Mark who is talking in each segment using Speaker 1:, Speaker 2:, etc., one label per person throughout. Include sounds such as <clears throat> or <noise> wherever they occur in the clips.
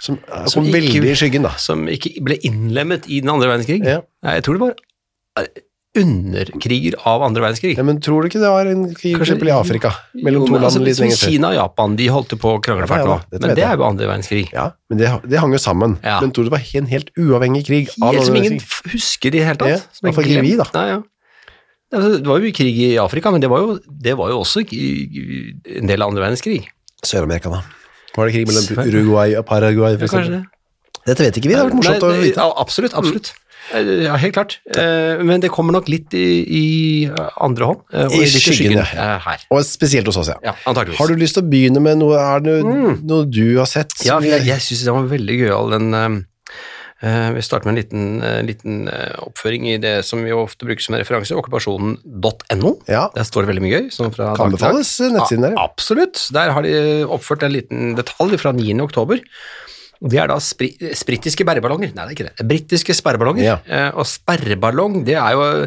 Speaker 1: Som, eh,
Speaker 2: Som
Speaker 1: kom
Speaker 2: ikke-
Speaker 1: veldig i skyggen, da.
Speaker 2: Som ikke ble innlemmet i den andre verdenskrig.
Speaker 1: Ja.
Speaker 2: Nei, jeg tror det var eh, underkriger av andre verdenskrig.
Speaker 1: Ja, men tror du ikke det var en krig for
Speaker 2: Kanskje-
Speaker 1: eksempel i Afrika? Mellom
Speaker 2: Jo,
Speaker 1: to
Speaker 2: men
Speaker 1: land
Speaker 2: altså,
Speaker 1: litt
Speaker 2: som
Speaker 1: lenger før?
Speaker 2: Kina og Japan, de holdt jo på å krangle fælt
Speaker 1: Ja, ja,
Speaker 2: nå,
Speaker 1: ja,
Speaker 2: men
Speaker 1: dette vet
Speaker 2: det
Speaker 1: jeg.
Speaker 2: er jo andre verdenskrig.
Speaker 1: Ja, men det, det hang jo sammen.
Speaker 2: Ja.
Speaker 1: Men tror du det var en helt uavhengig krig av
Speaker 2: Helt som
Speaker 1: andre
Speaker 2: ingen
Speaker 1: verdenskrig?
Speaker 2: f- husker i det hele tatt.
Speaker 1: Ja,
Speaker 2: som er
Speaker 1: hvertfall ikke vi,
Speaker 2: glemt. Nei, ja. Det var- det var jo krig i Afrika, men det var jo, det var jo også i- i- en del av andre verdenskrig.
Speaker 1: Sør-Amerika, da. Var det krig mellom
Speaker 2: Sør-
Speaker 1: Uruguay og Paraguay, for
Speaker 2: Ja, kanskje
Speaker 1: eksempel?
Speaker 2: det.
Speaker 1: Dette vet ikke vi, det hadde vært
Speaker 2: Nei,
Speaker 1: morsomt å
Speaker 2: det-
Speaker 1: vite. Mm.
Speaker 2: ja, Absolutt, absolutt. Eh, Ja, helt klart. Eh, Men det kommer nok litt i, i eh, andre hånd. eh, Og
Speaker 1: I
Speaker 2: litt
Speaker 1: skyggen, ja.
Speaker 2: eh, her.
Speaker 1: Og spesielt hos oss, ja.
Speaker 2: Ja, antageligvis.
Speaker 1: Har du lyst til å begynne med noe, er det noe, noe du har sett?
Speaker 2: Mm. Ja,
Speaker 1: som
Speaker 2: for jeg,
Speaker 1: vi-
Speaker 2: jeg syns den var veldig gøyal, den eh, eh, Vi starter med en liten, eh, liten eh, oppføring i det som vi ofte bruker som en referanse, okkupasjonen.no.
Speaker 1: Ja.
Speaker 2: Der står det veldig mye gøy. Sånn fra
Speaker 1: Kan
Speaker 2: dag til dag.
Speaker 1: anbefales, eh, nettsiden der, ja.
Speaker 2: A- Absolutt. Der har de eh, oppført en liten detalj fra 9. oktober. Og Det er da spri, eh, britiske sperreballonger. Nei, det er ikke det. det er Britiske sperreballonger.
Speaker 1: Ja.
Speaker 2: Eh, og sperreballong, det er, jo,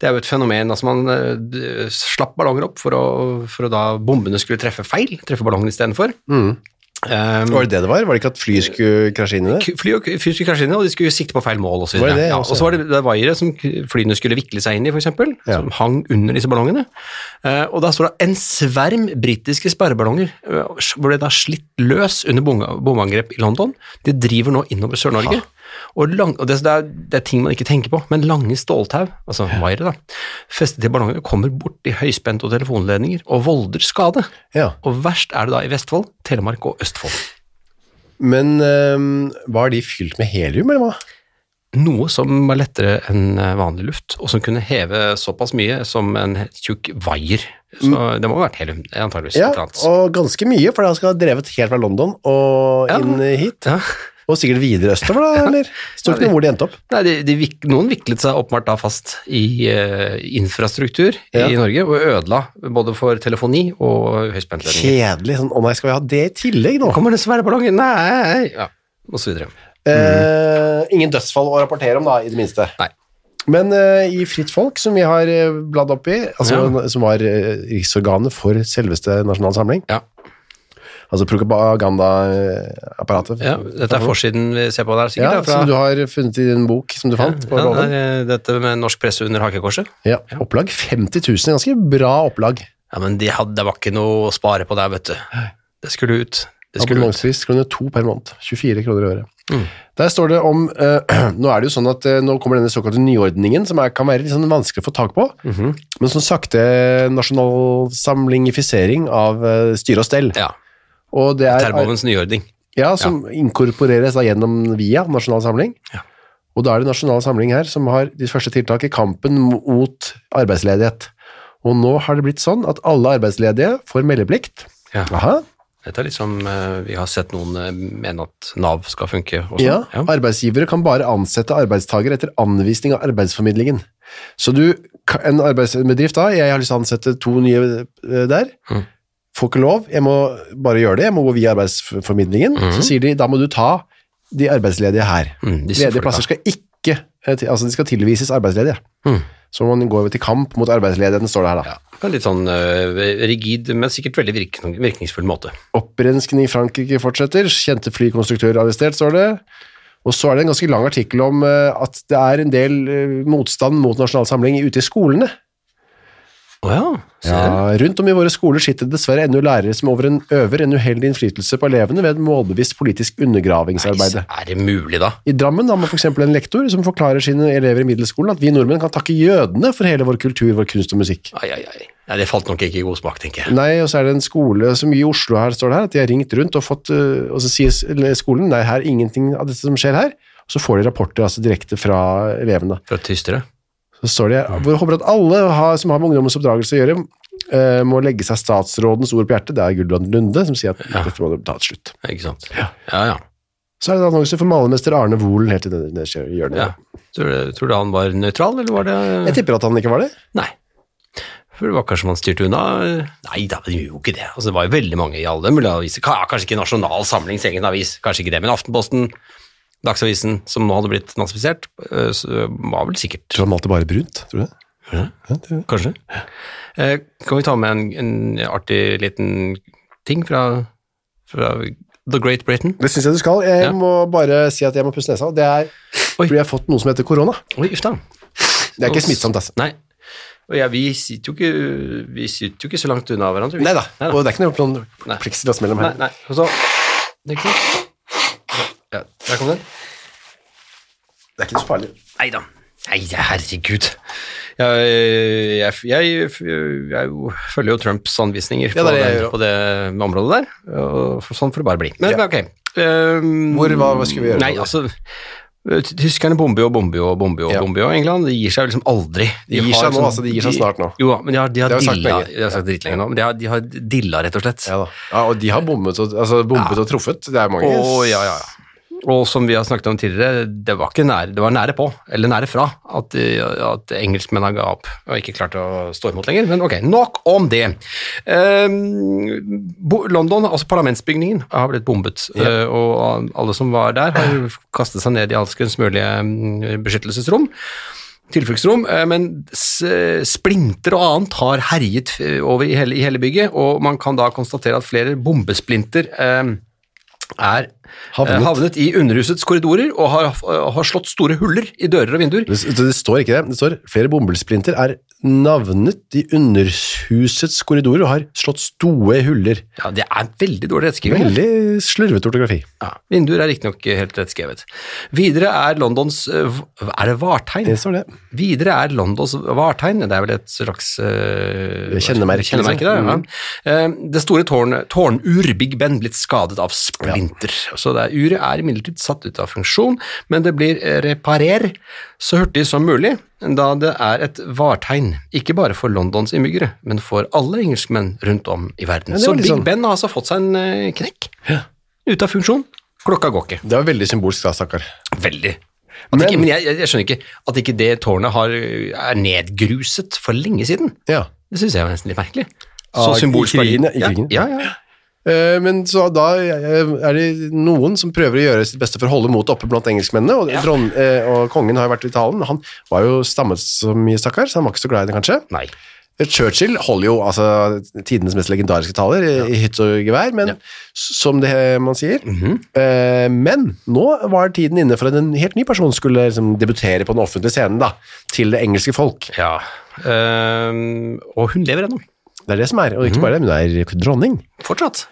Speaker 2: det er jo et fenomen. Altså man eh, d- slapp ballonger opp for å, for å da bombene skulle treffe feil. Treffe ballongen istedenfor.
Speaker 1: Mm.
Speaker 2: Um,
Speaker 1: Var det det det var? Var det ikke at fly skulle krasje inn i det?
Speaker 2: K- Fly og fly skulle krasje inn, i, og de skulle sikte på feil mål osv.
Speaker 1: Var det det
Speaker 2: Ja, og
Speaker 1: også,
Speaker 2: så var det, det vaiere som k- flyene skulle vikle seg inn i, f.eks., eksempel,
Speaker 1: Ja.
Speaker 2: som hang under disse ballongene. Eh, og da står det en sverm britiske sperreballonger eh, ble da slitt løs under bombe- bombeangrep i London. De driver nå innover Sør-Norge. Og, lang, og det, det, er, det er ting man ikke tenker på, men lange ståltau, altså vaiere, da, festet til ballongene, kommer borti høyspente og telefonledninger og volder skade.
Speaker 1: Ja.
Speaker 2: Og verst er det da i Vestfold, Telemark og Østfold.
Speaker 1: Men ehm, var de fylt med helium, eller hva?
Speaker 2: noe som var lettere enn eh, vanlig luft, og som kunne heve såpass mye som en he- tjukk vaier. Så det må ha vært helium, eh, antageligvis.
Speaker 1: Mm. Ja,
Speaker 2: et eller annet.
Speaker 1: og ganske mye, for det skal ha drevet helt fra London og
Speaker 2: Ja.
Speaker 1: inn hit.
Speaker 2: Ja.
Speaker 1: Og sikkert videre østover,
Speaker 2: <laughs>
Speaker 1: da, eller? Står ikke noe hvor de endte opp.
Speaker 2: Nei, de, de, vik- noen viklet seg åpenbart da fast i eh, infrastruktur
Speaker 1: Ja.
Speaker 2: i Norge, og ødela både for telefoni og høyspentledninger.
Speaker 1: Kjedelig. sånn, Å nei, skal vi ha det i tillegg nå?
Speaker 2: Kommer det sværeballongen? Nei! Ja, og så videre.
Speaker 1: Eh, ingen dødsfall å rapportere om, da, i det minste.
Speaker 2: Nei.
Speaker 1: Men eh, i Fritt Folk, som vi har eh, bladd opp i, altså, som var eh, riksorganet for selveste Nasjonal Samling,
Speaker 2: Ja.
Speaker 1: altså propagandaapparatet
Speaker 2: ja, dette er forsiden vi ser på der,
Speaker 1: ja,
Speaker 2: sikkert. da, fra,
Speaker 1: som du har funnet i en bok som du fant på
Speaker 2: ja,
Speaker 1: låven.
Speaker 2: det er, eh, dette med norsk presse under hakekorset.
Speaker 1: Ja, opplag 50 000, ganske bra opplag.
Speaker 2: Ja, men de hadde, det var ikke noe å spare på der, vet du. Det skulle ut. Det skulle ut.
Speaker 1: Abonnementspris kroner 2 per måned, 24 kroner i året.
Speaker 2: Mm.
Speaker 1: Der står det om, eh, <clears throat> nå er det jo sånn at eh, nå kommer denne såkalte nyordningen, som er, kan være litt sånn vanskelig å få tak på,
Speaker 2: Mhm.
Speaker 1: Men sånn sakte nasjonalsamlingifisering av eh, styre og stell.
Speaker 2: Ja.
Speaker 1: Og det er,
Speaker 2: Termovens nyordning.
Speaker 1: ja, som inkorporeres da gjennom via nasjonal samling.
Speaker 2: Ja.
Speaker 1: Og da er det nasjonal samling her som har de første tiltak i kampen mot arbeidsledighet. Og nå har det blitt sånn at alle arbeidsledige får meldeplikt.
Speaker 2: Ja.
Speaker 1: Aha,
Speaker 2: Dette er litt som eh, vi har sett noen eh, mene at Nav skal funke. Og
Speaker 1: ja.
Speaker 2: sånn. ja.
Speaker 1: Arbeidsgivere kan bare ansette arbeidstagere etter anvisning av arbeidsformidlingen. Så du, en arbeidsbedrift da, jeg har lyst til å ansette to nye eh, der,
Speaker 2: Mhm.
Speaker 1: får ikke lov, jeg må bare gjøre det, jeg må gå via arbeidsformidlingen, så sier de, da må du ta de arbeidsledige her.
Speaker 2: Mm, disse
Speaker 1: Ledige
Speaker 2: folka.
Speaker 1: plasser skal ikke, eh, til- altså de skal tilvises arbeidsledige.
Speaker 2: Mhm.
Speaker 1: Så man går til kamp mot arbeidsledigheten, står det her da.
Speaker 2: Det er Litt sånn eh, rigid, men sikkert veldig virkning, virkningsfull måte.
Speaker 1: Opprenskning i Frankrike fortsetter, kjente flykonstruktør arrestert, står det. Og så er det en ganske lang artikkel om eh, at det er en del eh, motstand mot Nasjonal Samling ute i skolene.
Speaker 2: Å ja. Se.
Speaker 1: Ja, rundt om i våre skoler sitter det dessverre ennå lærere som over en, øver en uheldig innflytelse på elevene ved et målbevisst politisk undergravingsarbeid.
Speaker 2: Er det mulig, da?
Speaker 1: I Drammen har man f.eks. en lektor som forklarer sine elever i middelskolen at vi nordmenn kan takke jødene for hele vår kultur, vår kunst og musikk.
Speaker 2: Ai, ai, ai. Nei, det falt nok ikke i god smak, tenker jeg.
Speaker 1: Nei, og så er det en skole som i Oslo her står det her, at de har ringt rundt og fått, øh, og så sier s- eller skolen, nei, her er ingenting av dette som skjer her, og så får de rapporter altså direkte fra elevene.
Speaker 2: Fra tystere.
Speaker 1: Så står det her, hvor håper at alle har, som har med ungdommens oppdragelse å gjøre, øh, må legge seg statsrådens ord på hjertet, det er Gudbrand Lunde som sier at
Speaker 2: Ja.
Speaker 1: dette må du ta et slutt.
Speaker 2: Ikke sant? Ja, ja.
Speaker 1: Så er det en annonse for malermester Arne Wohlen helt i det det skjer- hjørnet.
Speaker 2: ja. Tror, du, tror du han var nøytral, eller var det
Speaker 1: Jeg tipper at han ikke var det.
Speaker 2: Nei. For det var kanskje man styrte unna Nei da, det gjorde jo ikke det. Altså, det var jo veldig mange i alle mulige aviser. Ka- Kanskje ikke Nasjonal Samlings egen avis, kanskje ikke det, men Aftenposten, Dagsavisen, som nå hadde blitt nazifisert, øh, så var vel sikkert
Speaker 1: Tror han malte bare brunt, tror du det?
Speaker 2: Ja.
Speaker 1: Ja, det
Speaker 2: Kanskje. Eh, kan vi ta med en, en artig liten ting fra, fra The Great Britain?
Speaker 1: Det syns jeg du skal. Jeg
Speaker 2: Ja.
Speaker 1: må bare si at jeg må pusse nesa. og Det er
Speaker 2: Oi.
Speaker 1: fordi jeg har fått noe som heter korona.
Speaker 2: Oi, uff da.
Speaker 1: Det er ikke smittsomt, altså.
Speaker 2: Nei. Og ja, vi, sitter jo ikke, vi sitter jo ikke så langt unna hverandre. vi.
Speaker 1: Nei da.
Speaker 2: Neida.
Speaker 1: Og det er ikke noe plan
Speaker 2: Nei.
Speaker 1: plexiglass mellom
Speaker 2: Nei,
Speaker 1: her.
Speaker 2: nei. Og så Det er ikke sant? Ja, der kom den.
Speaker 1: Det er ikke så farlig.
Speaker 2: Nei da. Nei, herregud. Jeg, eh, jeg, jeg, jeg jo følger jo Trumps anvisninger
Speaker 1: Ja, det er det jeg
Speaker 2: på,
Speaker 1: gjør
Speaker 2: den, på det området der. Og for, sånn får det bare bli. Men
Speaker 1: Ja.
Speaker 2: ok. Ehm,
Speaker 1: Hvor- hva- hva skulle vi gjøre
Speaker 2: Nei,
Speaker 1: med det?
Speaker 2: altså... Tyskerne bomber jo, bomber jo, bomber jo,
Speaker 1: Ja.
Speaker 2: bomber jo. England de gir seg jo liksom aldri.
Speaker 1: De gir
Speaker 2: har
Speaker 1: seg nå, altså, de gir seg snart nå.
Speaker 2: Jo, da, men de har, de har,
Speaker 1: Det har vi sagt
Speaker 2: dilla,
Speaker 1: lenge.
Speaker 2: de har sagt dritlenge nå, men de har, de har dilla rett og slett.
Speaker 1: Ja da. Ja, og de har bombet og, altså, bombet og truffet. Det er mange.
Speaker 2: Og, ja, ja, ja. og som vi har snakket om tidligere, det var, ikke nære, det var nære på, eller nære fra, at, eh, at engelskmennene ga opp og ikke klarte å stå imot lenger. Men ok, nok om det. Ehm, bo- London, altså parlamentsbygningen, har blitt bombet. eh, og alle som var der, har jo kastet seg ned i allskens mulige mm, beskyttelsesrom tilfluktsrom, eh, men s- eh, splinter og annet har herjet eh, over i hele, i hele bygget, og man kan da konstatere at flere bombesplinter eh, er
Speaker 1: Havnet.
Speaker 2: havnet. havnet i underhusets korridorer og har, eh, har slått store huller i dører og vinduer.
Speaker 1: Det, det, det står ikke det. Det står flere bomullsplinter er navnet i underhusets korridorer og har slått store huller.
Speaker 2: Ja, Det er veldig dårlig rettskriving.
Speaker 1: Veldig slurvete ortografi.
Speaker 2: Ja, vinduer er riktignok helt rettskrevet. Videre er Londons eh, v- Er det vartegn?
Speaker 1: Det står det.
Speaker 2: Videre er Londons vartegn, det er vel et slags eh,
Speaker 1: Kjennemerke, liksom.
Speaker 2: kjennemerke der, ja. Eh, det store tårn- tårnur, Big Ben, blitt skadet av splinter. Så det er, uret er imidlertid satt ut av funksjon, men det blir eh, reparer så hurtig som mulig, da det er et vartegn, ikke bare for Londons innbyggere, men for alle engelskmenn rundt om i verden.
Speaker 1: Ja, det
Speaker 2: så
Speaker 1: var litt
Speaker 2: Big
Speaker 1: sånn-
Speaker 2: Ben har altså fått seg en eh, knekk, ute av funksjon. Klokka går ikke.
Speaker 1: Det var veldig symbolsk, da, stakkar.
Speaker 2: Veldig. At
Speaker 1: Men-
Speaker 2: ikke, men jeg, jeg, jeg skjønner ikke at ikke det tårnet har, er nedgruset for lenge siden.
Speaker 1: Ja.
Speaker 2: Det syns jeg var nesten litt merkelig. Så
Speaker 1: Ah, i
Speaker 2: symbolsk verdi.
Speaker 1: krigen, ja, i krigen.
Speaker 2: Ja, ja, ja.
Speaker 1: Eh, Men så da eh, er det noen som prøver å gjøre sitt beste for å holde motet oppe blant engelskmennene, og, dron, eh, og kongen har jo vært i talen. Han var jo stammet så mye, stakkar, så han var ikke så glad i det, kanskje.
Speaker 2: Nei.
Speaker 1: Churchill holder jo altså, tidenes mest legendariske taler i- i hytt og gevær, men
Speaker 2: Ja. Mhm.
Speaker 1: s- som det man sier. Eh, men nå var tiden inne for at en helt ny person skulle liksom, debutere på den offentlige scenen da, til det engelske folk.
Speaker 2: Ja. Ehm, og hun lever ennå.
Speaker 1: Det er det som er, og
Speaker 2: Mhm.
Speaker 1: ikke bare det, men hun er dronning.
Speaker 2: Fortsatt.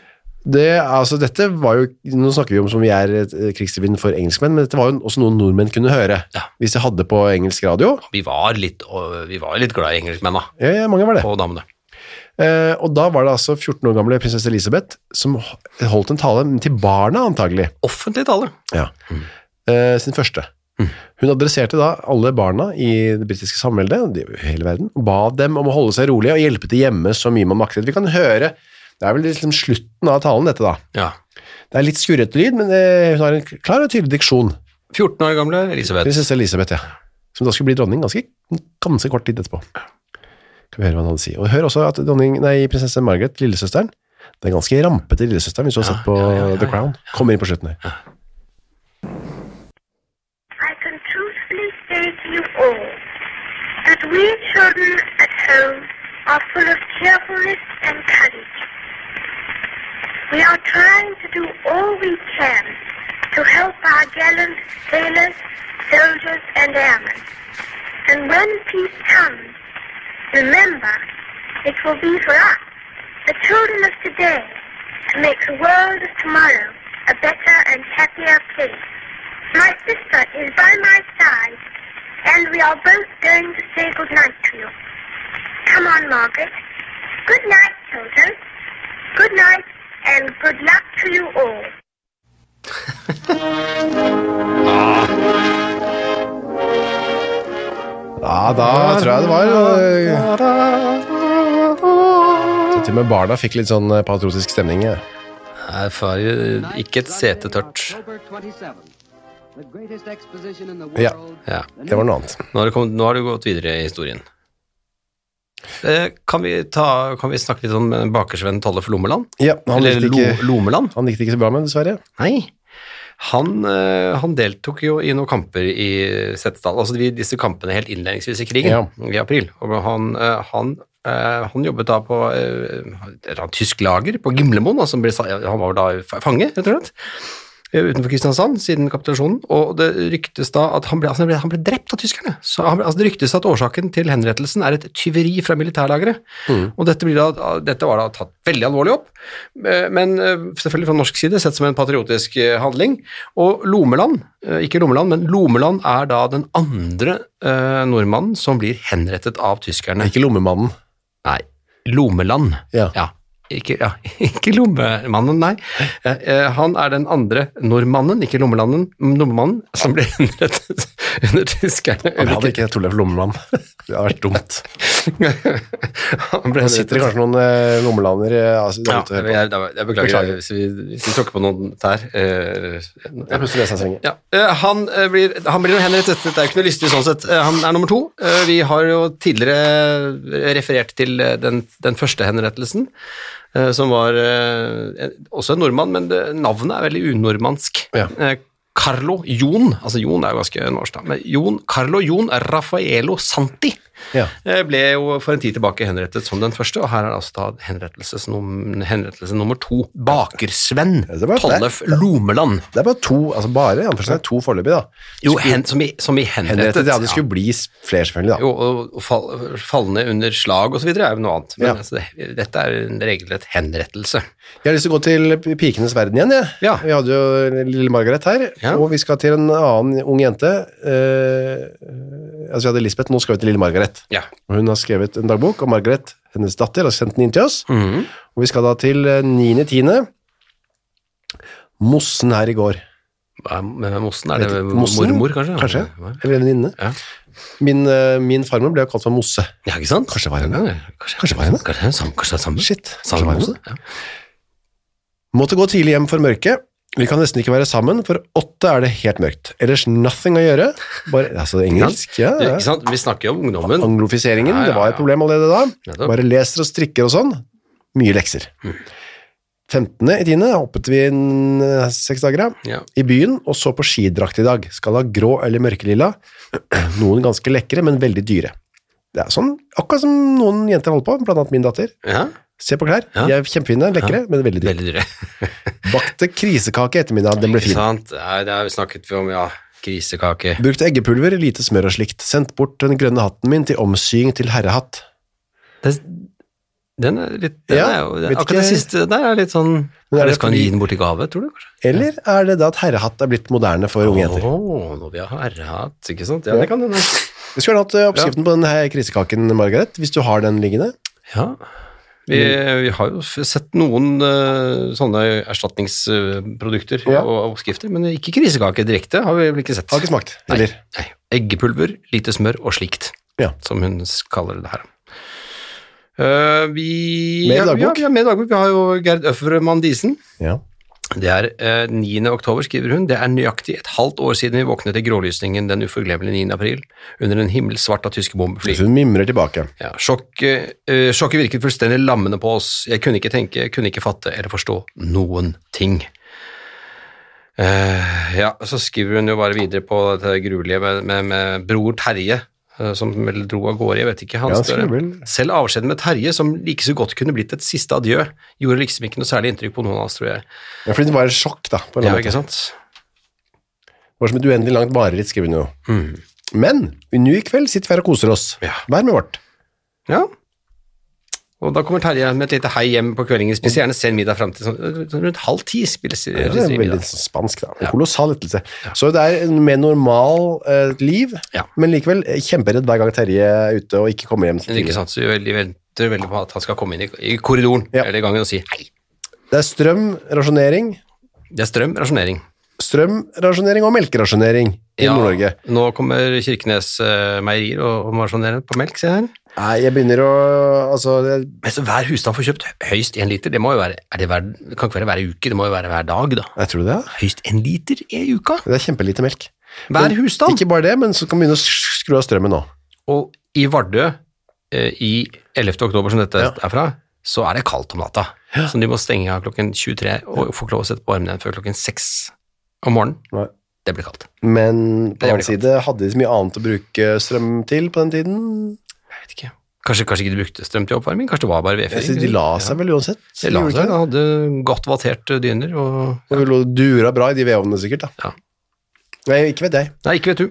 Speaker 1: Det, altså, dette var jo, nå snakker vi om som vi er et, eh, krigsrevyen for engelskmenn, men dette var jo også noe nordmenn kunne høre,
Speaker 2: Ja.
Speaker 1: hvis de hadde på engelsk radio.
Speaker 2: Vi var litt, og, vi var litt glad i engelskmennene
Speaker 1: Ja, ja, mange var det.
Speaker 2: og damene.
Speaker 1: Eh, og da var det altså 14 år gamle prinsesse Elisabeth som ho- holdt en tale til barna antagelig,
Speaker 2: Offentlig tale.
Speaker 1: ja. eh, sin første.
Speaker 2: Mm.
Speaker 1: Hun adresserte da alle barna i det britiske samveldet, og det er jo hele verden, og ba dem om å holde seg rolig og hjelpe til hjemme så mye man maktet. Vi kan høre, det er vel liksom slutten av talen dette da.
Speaker 2: Ja.
Speaker 1: Det er litt skurret lyd, men eh, hun har en klar og tydelig diksjon.
Speaker 2: 14 år gamle Elisabeth.
Speaker 1: Prinsesse Elisabeth, ja. Som da skulle bli dronning ganske, ganske kort tid etterpå. Kan vi høre hva han hadde å si. Og hør også at dronning, nei, prinsesse Margaret, lillesøsteren, det er ganske rampete lillesøsteren hvis du har sett på
Speaker 2: ja, ja, ja,
Speaker 1: The Crown. Kommer inn på slutten her.
Speaker 3: I can truthfully say to you all that we children at home are full of cheerfulness and courage. We are trying to do all we can to help our gallant sailors, soldiers, and airmen. And when peace comes, remember, it will be for us, the children of today, to make the world of tomorrow a better and happier place. My sister is by my side, and we are both going to say goodnight to you. Come on, Margaret. Good night, children. Good night, and good luck to you all.
Speaker 1: Ja, da tror jeg det var øh, Så til og med barna fikk litt sånn øh, patriotisk stemning. ja.
Speaker 2: Nei, for eh, ikke et sete tørt.
Speaker 1: Ja.
Speaker 2: Ja.
Speaker 1: Det var noe annet.
Speaker 2: Nå har, du kommet, nå har du gått videre i historien. Eh, kan, vi ta, kan vi snakke litt om eh, bakersvenn Tolle for Lommeland?
Speaker 1: Ja, han
Speaker 2: Eller
Speaker 1: likte, ikke,
Speaker 2: Lo, Lomeland?
Speaker 1: han likte ikke så bra med, dessverre.
Speaker 2: Nei. Han, eh, han deltok jo i noen kamper i Setesdal. Altså de- disse kampene helt innledningsvis i krigen
Speaker 1: Ja.
Speaker 2: i april. Og han, eh, han, eh, han jobbet da på eh, et eller annet tysk lager på Gimlemoen. Altså han, ble, sa- han var da fa- fange, rett og slett, eh, utenfor Kristiansand siden kapitulasjonen. Og det ryktes da at han ble, altså han ble, han ble drept av tyskerne. Så han ble, altså det ryktes at årsaken til henrettelsen er et tyveri fra militærlageret. Og dette, blir da, dette var da tatt veldig alvorlig opp, eh, men eh, selvfølgelig fra norsk side sett som en patriotisk eh, handling. Og Lomeland, eh, ikke Lomeland, men Lomeland er da den andre eh, nordmannen som blir henrettet av tyskerne.
Speaker 1: Ikke lommemannen.
Speaker 2: Nei, Lomeland.
Speaker 1: Ja.
Speaker 2: Ja. Ikke, ja, <laughs> ikke lommemannen, nei. Eh, eh, Han er den andre nordmannen, ikke lommelanden, lommemannen, som ble henrettet <laughs> under tyskerne. <laughs>
Speaker 1: Han hadde ikke Torleif <laughs> Lommemann. Det hadde vært dumt.
Speaker 2: Han ble
Speaker 1: Det
Speaker 2: henrettet.
Speaker 1: sitter kanskje noen eh, lommelaner eh, altså, der
Speaker 2: Ja,
Speaker 1: ute og hører på.
Speaker 2: jeg, jeg, jeg beklager
Speaker 1: Beklager.
Speaker 2: hvis vi, hvis vi tråkker på noen tær. eh,
Speaker 1: Jeg har plutselig lest en seng.
Speaker 2: Ja, eh, han, eh, blir, han blir jo henrettet, det er jo ikke noe lystig sånn sett. Eh, Han er nummer to. Eh, Vi har jo tidligere referert til eh, den, den første henrettelsen, eh, som var eh, en- også en nordmann, men det, navnet er veldig unordmannsk.
Speaker 1: Ja.
Speaker 2: Eh, Carlo Jon, altså Jon er jo ganske norsk da, men Jon, Carlo Jon Raffaello Santi
Speaker 1: Ja.
Speaker 2: eh, ble jo for en tid tilbake henrettet som den første, og her er altså da henrettelse, num- henrettelse nummer to. Bakersvenn
Speaker 1: Ja, det var det.
Speaker 2: Tollef Lomeland.
Speaker 1: Det er bare to, altså bare, i anførselstegn, to foreløpig, da.
Speaker 2: Jo, hen, som, i, som i henrettet.
Speaker 1: Henrettet, ja, det skulle bli s- flere, selvfølgelig, da.
Speaker 2: Jo, og og fall, falle ned under slag osv. er jo noe annet. Men
Speaker 1: Ja.
Speaker 2: altså, det- dette er en regelrett henrettelse.
Speaker 1: Jeg har lyst til å gå til Pikenes verden igjen, jeg.
Speaker 2: Ja.
Speaker 1: Vi hadde jo lille Margaret her,
Speaker 2: Ja.
Speaker 1: og vi skal til en annen ung jente. Eh, altså, vi hadde Lisbeth, nå skal vi til lille Margaret.
Speaker 2: Ja.
Speaker 1: Og Hun har skrevet en dagbok, og Margaret, hennes datter, har sendt den inn til oss.
Speaker 2: Mhm.
Speaker 1: Og vi skal da til eh, 9.10. Mossen her i går.
Speaker 2: Hva er- Hvem er Mossen? Er
Speaker 1: Vet
Speaker 2: det
Speaker 1: ikke, Mossen?
Speaker 2: mormor, kanskje?
Speaker 1: Kanskje,
Speaker 2: Ja.
Speaker 1: eller en venninne.
Speaker 2: Ja.
Speaker 1: Min, eh, min farmor ble jo kalt for Mosse.
Speaker 2: Ja, ikke sant?
Speaker 1: Kanskje det var henne?
Speaker 2: Ja, kanskje,
Speaker 1: Kanskje det var henne?
Speaker 2: Kanskje det er samme? Kanskje det er samme?
Speaker 1: Shit, kanskje det
Speaker 2: samme
Speaker 1: var
Speaker 2: Mosse?
Speaker 1: henne?
Speaker 2: Ja.
Speaker 1: Måtte gå tidlig hjem for mørket. Vi kan nesten ikke være sammen, for åtte er det helt mørkt. Ellers nothing å gjøre. Bare, altså engelsk, ja.
Speaker 2: Det-
Speaker 1: ja.
Speaker 2: Ikke sant? Vi snakker jo om ungdommen.
Speaker 1: Anglofiseringen,
Speaker 2: Ja, ja,
Speaker 1: det var
Speaker 2: ja.
Speaker 1: et problem allerede da.
Speaker 2: Nettopp.
Speaker 1: Bare leser og strikker og sånn. Mye lekser.
Speaker 2: Mm.
Speaker 1: 15. i tiende hoppet vi en, eh, seks dager, ja.
Speaker 2: Ja.
Speaker 1: i byen og så på skidrakt i dag. Skal ha grå eller mørkelilla. <clears throat> Noen ganske lekre, men veldig dyre. Det er sånn, akkurat som noen jenter holder på, blant annet min datter.
Speaker 2: ja.
Speaker 1: Se på klær.
Speaker 2: Ja.
Speaker 1: De er kjempefine, lekre, men veldig dyre.
Speaker 2: Veldig dyre.
Speaker 1: Bakte krisekake i ettermiddag, den ble
Speaker 2: Ikke
Speaker 1: fin.
Speaker 2: sant? Nei, det har vi snakket om, ja. Krisekake.
Speaker 1: Brukte eggepulver, lite smør og slikt. Sendt bort den grønne hatten min til omsying til herrehatt.
Speaker 2: Det, den er litt den
Speaker 1: Ja,
Speaker 2: er jo,
Speaker 1: vet
Speaker 2: Akkurat
Speaker 1: ikke-
Speaker 2: det siste der er litt sånn
Speaker 1: Men er
Speaker 2: er det
Speaker 1: det
Speaker 2: Skal han
Speaker 1: fordi-
Speaker 2: gi den bort i gave, tror du? kanskje?
Speaker 1: Eller er det da at herrehatt er blitt moderne for unge jenter?
Speaker 2: Åh, når vi har herrehatt, ikke sant? Ja, det kan hende.
Speaker 1: Vi skulle gjerne hatt eh, oppskriften på den her krisekaken, Margaret, hvis du har den liggende.
Speaker 2: Ja. Vi, vi har jo f- sett noen eh, sånne erstatningsprodukter
Speaker 1: Ja.
Speaker 2: og oppskrifter, men ikke krisekake direkte har vi vel ikke sett.
Speaker 1: Har ikke smakt,
Speaker 2: Nei.
Speaker 1: eller?
Speaker 2: Nei. Eggepulver, lite smør og slikt,
Speaker 1: Ja.
Speaker 2: som hun s- kaller det her. Eh, vi,
Speaker 1: Med
Speaker 2: ja, vi har-
Speaker 1: dagbok?
Speaker 2: vi har med dagbok. Vi har jo Gerd Øfvermann Disen.
Speaker 1: Ja.
Speaker 2: Det er eh, 9. oktober, skriver hun. Det er nøyaktig et halvt år siden vi våknet til grålysningen den uforglemmelige 9. april under en himmel svart av tyske bombefly.
Speaker 1: Så hun mimrer tilbake.
Speaker 2: Ja, sjokk, eh, sjokket virket fullstendig lammende på oss. Jeg kunne ikke tenke, kunne ikke fatte eller forstå noen ting. Eh, ja, så skriver hun jo bare videre på dette gruelige med, med, med bror Terje, eh, som vel dro av gårde, jeg vet ikke. Han
Speaker 1: Ja, han
Speaker 2: større.
Speaker 1: skriver vel.
Speaker 2: Selv avskjeden med Terje, som like så godt kunne blitt et siste adjø, gjorde liksom ikke noe særlig inntrykk på noen av oss, tror jeg.
Speaker 1: Ja, fordi det var et sjokk, da. På en
Speaker 2: Ja,
Speaker 1: eller annen
Speaker 2: ikke sant?
Speaker 1: var som et uendelig langt mareritt, skriver hun jo.
Speaker 2: Mm.
Speaker 1: Men en ny kveld sitter vi her og koser oss.
Speaker 2: Ja.
Speaker 1: Hver med vårt.
Speaker 2: Ja. Og da kommer Terje med et lite hei hjem på kveldingen. Spiser gjerne sen middag fram til sånn, sånn rundt halv ti. Spiser,
Speaker 1: Det
Speaker 2: spiser
Speaker 1: er veldig
Speaker 2: middag.
Speaker 1: sånn spansk, da. En kolossal lettelse. Så det er en mer normal eh, liv,
Speaker 2: Ja.
Speaker 1: men likevel eh, kjemperedd hver gang Terje er ute og ikke kommer hjem.
Speaker 2: Men
Speaker 1: Til
Speaker 2: ikke
Speaker 1: tidlig.
Speaker 2: sant, så vi veldig, venter veldig på at han skal komme inn i, i korridoren
Speaker 1: Ja.
Speaker 2: eller i gangen og si hei.
Speaker 1: det er strøm, rasjonering,
Speaker 2: Det er strøm, rasjonering.
Speaker 1: strøm, rasjonering og melkerasjonering i
Speaker 2: Ja,
Speaker 1: Nord-Norge.
Speaker 2: Nå kommer Kirkenes eh, meierier og, og må rasjonere på melk, se her.
Speaker 1: Nei, jeg begynner å Altså, jeg,
Speaker 2: Men så hver husstand får kjøpt høyst én liter. Det må jo være, er det, hver, det kan ikke være hver uke, det må jo være hver dag, da.
Speaker 1: jeg tror det, ja.
Speaker 2: Høyst én liter i uka.
Speaker 1: Det er kjempelite melk.
Speaker 2: Hver husstand.
Speaker 1: Ikke bare det, men så kan vi begynne å sk- skru av strømmen nå.
Speaker 2: Og i Vardø eh, i 11. oktober, som dette
Speaker 1: Ja.
Speaker 2: er fra, så er det kaldt om natta. Så de må stenge av klokken 23 og få ikke lov å sette på armene igjen før klokken 6 om morgenen.
Speaker 1: Nei.
Speaker 2: Det blir kaldt.
Speaker 1: Men
Speaker 2: Det
Speaker 1: på den
Speaker 2: gjør
Speaker 1: annen side, hadde de så mye annet å bruke strøm til på den tiden?
Speaker 2: Jeg vet ikke. Kanskje, kanskje ikke de brukte strøm til oppvarming? Kanskje det var bare
Speaker 1: Jeg
Speaker 2: vedfyring?
Speaker 1: synes de la seg vel uansett.
Speaker 2: De la
Speaker 1: Gjorde de
Speaker 2: seg,
Speaker 1: ikke det?
Speaker 2: de hadde godt vatterte dyner og
Speaker 1: Og vi lå og dura bra i de vedovnene sikkert, da.
Speaker 2: Ja.
Speaker 1: Nei, ikke vet jeg.
Speaker 2: Nei, ikke vet du.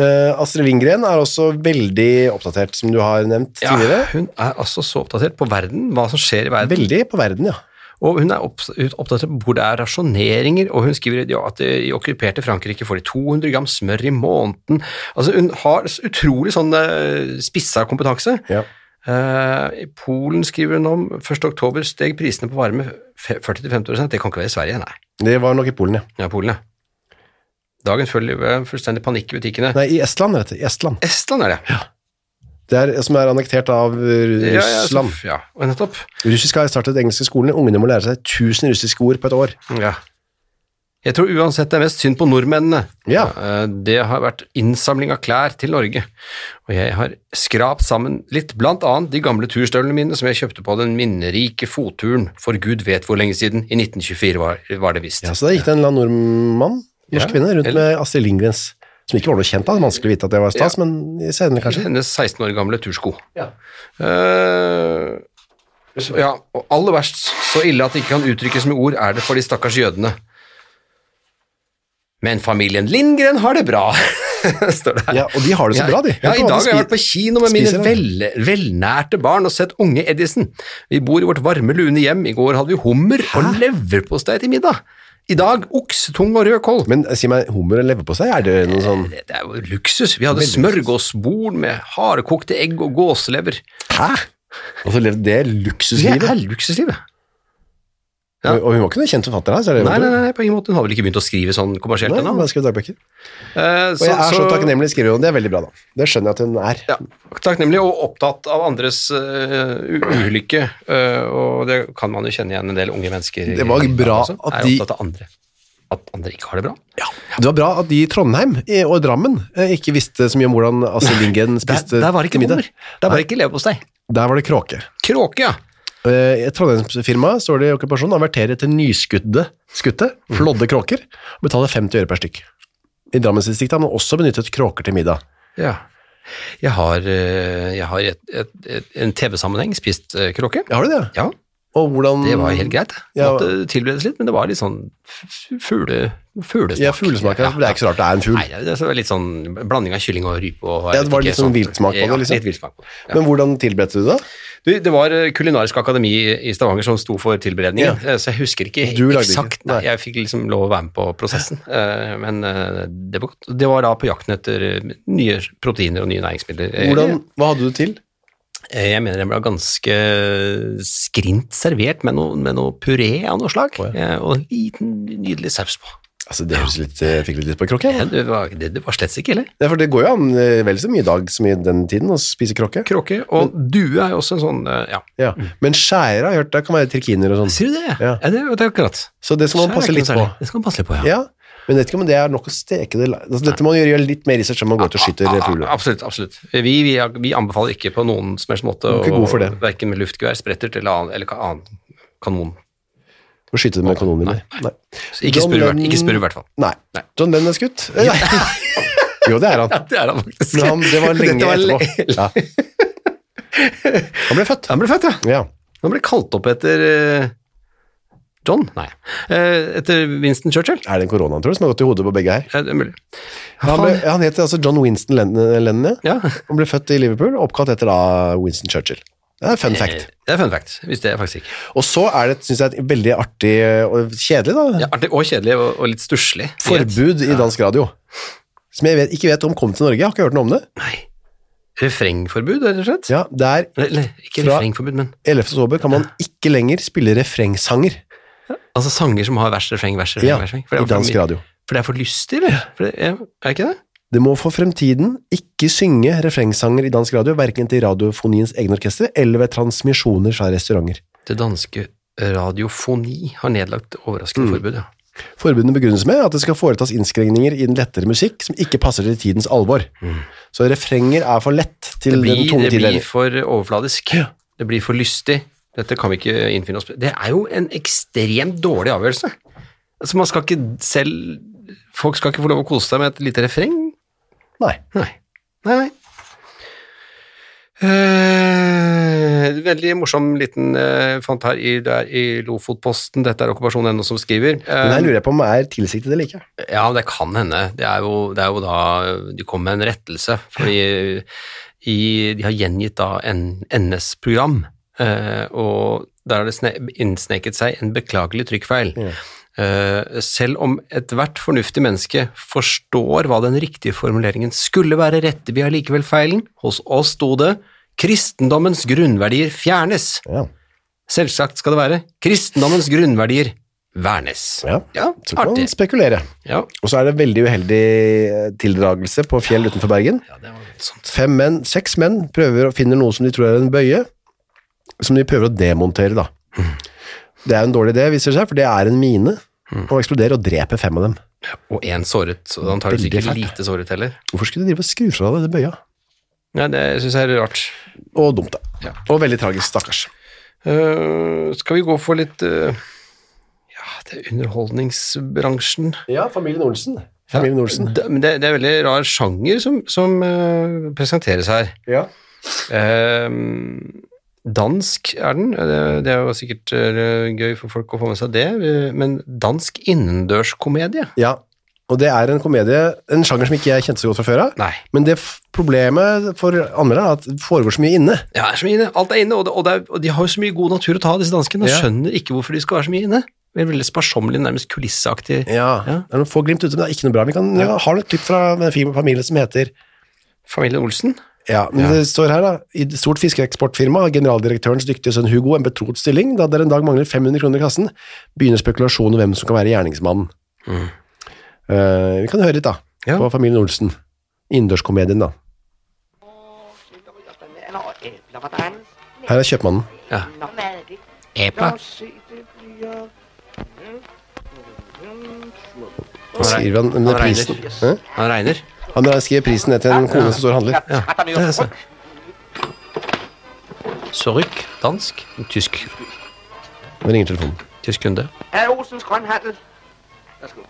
Speaker 1: Eh, Astrid Lindgren er også veldig oppdatert, som du har nevnt
Speaker 2: Ja,
Speaker 1: tidligere.
Speaker 2: hun er altså så oppdatert på verden, hva som skjer i verden.
Speaker 1: Veldig på verden, ja.
Speaker 2: Og hun er opps- ut- opptatt av hvor det er rasjoneringer, og hun skriver ja, at eh, i okkuperte Frankrike får de 200 gram smør i måneden. Altså, hun har s- utrolig sånn eh, spissa kompetanse.
Speaker 1: Ja.
Speaker 2: Eh, I Polen skriver hun om 1. oktober steg prisene på varme fe- 40-50 Det kan ikke være i Sverige, nei.
Speaker 1: Det var nok i Polen, ja.
Speaker 2: Ja, Polen, ja. Dagen før det var fullstendig panikk i butikkene.
Speaker 1: Nei, i Estland, rett og slett. I Estland.
Speaker 2: Estland er det.
Speaker 1: Det er, som er annektert av eh,
Speaker 2: Ja, ja, så-
Speaker 1: Russland.
Speaker 2: Ja, og nettopp.
Speaker 1: Russisk har startet engelske skolen. Ungene må lære seg 1000 russiske ord på et år.
Speaker 2: Ja. Jeg tror uansett det er mest synd på nordmennene.
Speaker 1: Ja.
Speaker 2: Eh, Det har vært innsamling av klær til Norge, og jeg har skrapt sammen litt, blant annet de gamle turstøvlene mine som jeg kjøpte på den minnerike fotturen for gud vet hvor lenge siden, i 1924 var, var det visst.
Speaker 1: Ja, så da gikk det en eller annen nordmann, norsk
Speaker 2: Ja,
Speaker 1: kvinne, rundt
Speaker 2: eller-
Speaker 1: med Astrid Lindgrens, som ikke var noe kjent da, det er vanskelig å vite at det var stas, men senere kanskje.
Speaker 2: Hennes 16 år gamle tursko. Eh, så, ja, og aller verst, så ille at det ikke kan uttrykkes med ord, er det for de stakkars jødene. Men familien Lindgren har det bra, <laughs> står det her.
Speaker 1: Ja, og de har det så
Speaker 2: Ja,
Speaker 1: bra, de.
Speaker 2: Ja,
Speaker 1: Hør
Speaker 2: I
Speaker 1: på hva
Speaker 2: dag har
Speaker 1: de
Speaker 2: jeg vært på
Speaker 1: spi-
Speaker 2: kino med mine
Speaker 1: spiser, da.
Speaker 2: vel, velnærte barn og sett unge Edison. Vi bor i vårt varme, lune hjem. I går hadde vi hummer og leverpostei til middag. I dag oksetung og rød kål.
Speaker 1: Men eh, si meg, hummer og leverpostei, er det noe sånn...
Speaker 2: Det det er jo luksus. Vi hadde smørgåsbord med hardekokte egg og gåselever.
Speaker 1: Hæ? Og så levde Altså, det
Speaker 2: Det
Speaker 1: luksuslivet.
Speaker 2: er luksuslivet. ja.
Speaker 1: Og og hun var ikke noe kjent forfatter her, så er det...
Speaker 2: Nei, nei, nei, på ingen måte. Hun har vel ikke begynt å skrive sånn kommersielt
Speaker 1: Nei,
Speaker 2: ennå.
Speaker 1: hun har skrevet dagbøker.
Speaker 2: Eh,
Speaker 1: Og jeg er så
Speaker 2: så-
Speaker 1: takknemlig, skriver hun. Det er veldig bra da. Det skjønner jeg at hun er.
Speaker 2: Ja, takknemlig og opptatt av andres eh, u- ulykke, eh, og det kan man jo kjenne igjen en del unge mennesker i-
Speaker 1: Det var
Speaker 2: i dag
Speaker 1: bra
Speaker 2: også,
Speaker 1: at
Speaker 2: er
Speaker 1: de-
Speaker 2: opptatt av andre. At andre ikke har det bra.
Speaker 1: Det var bra at de i Trondheim eh, og Drammen eh, ikke visste så mye om hvordan Astrid Lindgren
Speaker 2: Der,
Speaker 1: spiste
Speaker 2: var det ikke
Speaker 1: middag.
Speaker 2: hummer. Der var det ikke leverpostei.
Speaker 1: Der var det kråke.
Speaker 2: Kråke, ja.
Speaker 1: Eh, Et Trondheimsfirma står det i okkupasjonen averterer til nyskudde skutte,
Speaker 2: Mm.
Speaker 1: flådde kråker, og betaler 50 øre per stykk. I Drammensdistriktet har man også benyttet kråker til middag.
Speaker 2: ja. Jeg har, eh, jeg har i et, et, et, en TV-sammenheng spist eh, kråke.
Speaker 1: Ja, har du det?
Speaker 2: Ja,
Speaker 1: Og hvordan...
Speaker 2: det var helt greit. det.
Speaker 1: Mm. Ja.
Speaker 2: Måtte tilberedes litt, men det var litt sånn f- fugle, fuglesmak.
Speaker 1: Ja, fuglesmak. Ja,
Speaker 2: Ja,
Speaker 1: for Det er ikke så rart det er en fugl.
Speaker 2: Nei, det var litt sånn blanding av kylling og rype. Og, jeg
Speaker 1: Ja, det
Speaker 2: vet
Speaker 1: var
Speaker 2: ikke,
Speaker 1: litt sånn viltsmak på det,
Speaker 2: Ja,
Speaker 1: liksom.
Speaker 2: litt viltsmak på det. Ja.
Speaker 1: Men hvordan tilberedte du det?
Speaker 2: Du, det var eh, Kulinarisk akademi i Stavanger som sto for tilberedningen, eh, så jeg husker ikke
Speaker 1: Du lagde
Speaker 2: eksakt.
Speaker 1: ikke, nei.
Speaker 2: Nei. Jeg fikk liksom lov å være med på prosessen, eh, men eh, det var godt. Det var da på jakten etter eh, nye proteiner og nye næringsmidler. Eh,
Speaker 1: Hvordan, hva hadde du til?
Speaker 2: eh, Jeg mener den ble ganske skrint servert med noe, med noe puré av noe slag, eh, og en liten nydelig saus på.
Speaker 1: Altså, det høres litt, eh, fikk litt lyst på kråke.
Speaker 2: Ja,
Speaker 1: Ja.
Speaker 2: Det var, det, det var slett ikke, eller?
Speaker 1: Ja, for det går jo an eh, vel så mye i dag som i den tiden å spise kråke.
Speaker 2: Kråke og due er jo også en sånn, eh, ja.
Speaker 1: Ja. Men skjære har jeg hørt, det kan være trikiner og sånn.
Speaker 2: Sier du det?
Speaker 1: Ja.
Speaker 2: Ja, det, det er akkurat.
Speaker 1: Så det skal man
Speaker 2: Skjær er
Speaker 1: passe
Speaker 2: ikke
Speaker 1: litt
Speaker 2: noe
Speaker 1: på.
Speaker 2: særlig. Det skal man passe litt på, ja.
Speaker 1: Ja, men vet ikke om det er nok å steke det. la- Altså, dette må man gjøre litt mer research om man går ut og skyter
Speaker 2: Ja,
Speaker 1: fugler.
Speaker 2: Absolutt. absolutt. Vi, vi, vi anbefaler ikke på noen som helst måte
Speaker 1: er ikke god for det.
Speaker 2: verken med luftgevær, sprettert eller annen, eller ka- annen kanon.
Speaker 1: Og skyte det med kanoner. Nei.
Speaker 2: Så ikke
Speaker 1: John
Speaker 2: spurv, i hvert-
Speaker 1: Lennon-
Speaker 2: ikke spurv i hvert fall.
Speaker 1: Nei.
Speaker 2: Nei.
Speaker 1: John Lennon er skutt? Eh, Nei. <laughs> Jo, det er han.
Speaker 2: Det er han <laughs> faktisk.
Speaker 1: Men han, det var lenge
Speaker 2: Dette le-
Speaker 1: etterpå. Ja. Han ble født.
Speaker 2: Han ble født, ja.
Speaker 1: Ja.
Speaker 2: Han ble kalt opp etter eh, John? Nei. Eh, Etter Winston Churchill?
Speaker 1: Er det en korona, tror du, som har gått i hodet på begge her?
Speaker 2: Ja, det er mulig.
Speaker 1: Han, ble, han heter altså John Winston Len- Lennon, ja.
Speaker 2: Ja,
Speaker 1: Han ble født i Liverpool, oppkalt etter da Winston Churchill. Det er en fun fact.
Speaker 2: Eh, det er fun fact. Visste jeg faktisk ikke.
Speaker 1: Og så er det, synes jeg, et veldig artig eh, og kjedelig da,
Speaker 2: Ja, artig og kjedelig og, og litt stusslig.
Speaker 1: forbud i dansk radio. Som jeg vet, ikke vet om kom til Norge, jeg har ikke hørt noe om det.
Speaker 2: Nei. Refrengforbud, rett og slett?
Speaker 1: Ja, det er
Speaker 2: Eller ikke
Speaker 1: Fra-
Speaker 2: refrengforbud, men
Speaker 1: 11. oktober kan man ikke lenger spille refrengsanger
Speaker 2: altså sanger som har vers, refreng, vers, refreng.
Speaker 1: ja,
Speaker 2: vers, refreng.
Speaker 1: i
Speaker 2: for,
Speaker 1: dansk
Speaker 2: det er for,
Speaker 1: radio.
Speaker 2: mye- for det er for lystig, eller? For det er, er ikke det?
Speaker 1: Det må for fremtiden ikke synge refrengsanger i dansk radio, hverken til radiofoniens egne orkestre eller ved transmisjoner fra restauranter.
Speaker 2: Det danske Radiofoni har nedlagt overraskende
Speaker 1: Mm.
Speaker 2: forbud, ja.
Speaker 1: Forbundet begrunnes med at det skal foretas innskrenkninger i den lettere musikk som ikke passer til tidens alvor. Så refrenger er for lett til
Speaker 2: Mm. Det blir,
Speaker 1: den tunge
Speaker 2: det blir
Speaker 1: tidelen.
Speaker 2: for overfladisk. Det blir for lystig. Dette kan vi ikke innfinne oss på. Det er jo en ekstremt dårlig avgjørelse. Altså, man skal ikke selv Folk skal ikke få lov å kose seg med et lite refreng.
Speaker 1: Nei.
Speaker 2: Nei. Nei, nei. Eh, veldig morsom liten eh, fant her i, det er i Lofotposten. Dette er okkupasjon.no som skriver.
Speaker 1: Den her
Speaker 2: Eh,
Speaker 1: lurer jeg på om er tilsiktet eller ikke.
Speaker 2: ja, det kan hende. Det er jo, det er jo da De kom med en rettelse, fordi i, de har gjengitt da en NS-program, eh, og der har det sne, innsneket seg en beklagelig trykkfeil. Eh, selv om ethvert fornuftig menneske forstår hva den riktige formuleringen skulle være, retter vi allikevel feilen. Hos oss sto det 'Kristendommens grunnverdier fjernes'.
Speaker 1: Ja.
Speaker 2: Selvsagt skal det være 'Kristendommens grunnverdier vernes'.
Speaker 1: Ja.
Speaker 2: ja
Speaker 1: Så kan man
Speaker 2: artig.
Speaker 1: spekulere.
Speaker 2: Ja.
Speaker 1: Og så er det veldig uheldig eh, tildragelse på fjell utenfor Bergen.
Speaker 2: Ja, det var voldsomt.
Speaker 1: Fem menn, seks menn prøver å finne noe som de tror er en bøye, som de prøver å demontere da. Det er en dårlig idé, viser det seg, for det er en mine, og eksploderer og dreper fem av dem.
Speaker 2: Og én såret, så antakeligvis
Speaker 1: Veldig
Speaker 2: ikke
Speaker 1: fælt.
Speaker 2: lite såret heller.
Speaker 1: Hvorfor skulle de drive og skru fra deg det bøya?
Speaker 2: Nei, det syns jeg er rart.
Speaker 1: Og dumt da.
Speaker 2: Ja.
Speaker 1: Og veldig tragisk, stakkars.
Speaker 2: Eh, skal vi gå for litt eh, Ja, det er underholdningsbransjen.
Speaker 1: Ja, familien Olsen. Familien Olsen.
Speaker 2: Det, men det, det er veldig rar sjanger som, som eh, presenteres her.
Speaker 1: Ja.
Speaker 2: Eh, dansk er den. Det, det er jo sikkert eh, gøy for folk å få med seg det, eh, men dansk innendørskomedie?
Speaker 1: Ja, og det er en komedie, en sjanger som ikke jeg kjente så godt fra før av,
Speaker 2: Nei.
Speaker 1: men det f- problemet for anmelderen er at det foregår så mye inne.
Speaker 2: Ja, det er så mye inne. Alt er inne, og, det, og, det er, og de har jo så mye god natur å ta, disse danskene. Jeg
Speaker 1: Ja.
Speaker 2: skjønner ikke hvorfor de skal være så mye inne. Det er veldig sparsommelig, nærmest kulisseaktig.
Speaker 1: Ja,
Speaker 2: Ja.
Speaker 1: det er noen få glimt ute, men det er ikke noe bra. Vi kan, ja, har du et klipp fra en fin familie som heter
Speaker 2: Familien Olsen?
Speaker 1: Ja, men
Speaker 2: Ja.
Speaker 1: det står her da, i et stort fiskeeksportfirma har generaldirektørens dyktige sønn Hugo en betrodd stilling, da det en dag mangler 500 kroner i kassen, begynner spekulasjonen om hvem som kan være gjerningsmannen. Eh, vi kan høre litt da,
Speaker 2: Mm. Ja.
Speaker 1: på familien Olsen, innendørskomedien da.
Speaker 4: Bananer og æbler. Hvordan?
Speaker 1: Her er kjøpmannen.
Speaker 4: Nå, hvad er det?
Speaker 2: Æbler?
Speaker 4: Lad os se, det bliver... Mm, mm, små
Speaker 1: Han skriver han, men
Speaker 2: han regner.
Speaker 1: prisen. Hæ?
Speaker 2: Han regner.
Speaker 1: Han skriver prisen ned til en kone som står og handler.
Speaker 2: Ja, det er så. Sorryk, dansk, tysk,
Speaker 1: Nå ringer telefonen.
Speaker 2: tysk kunde.
Speaker 4: Herr Olsens Grønhandel. Værsgo.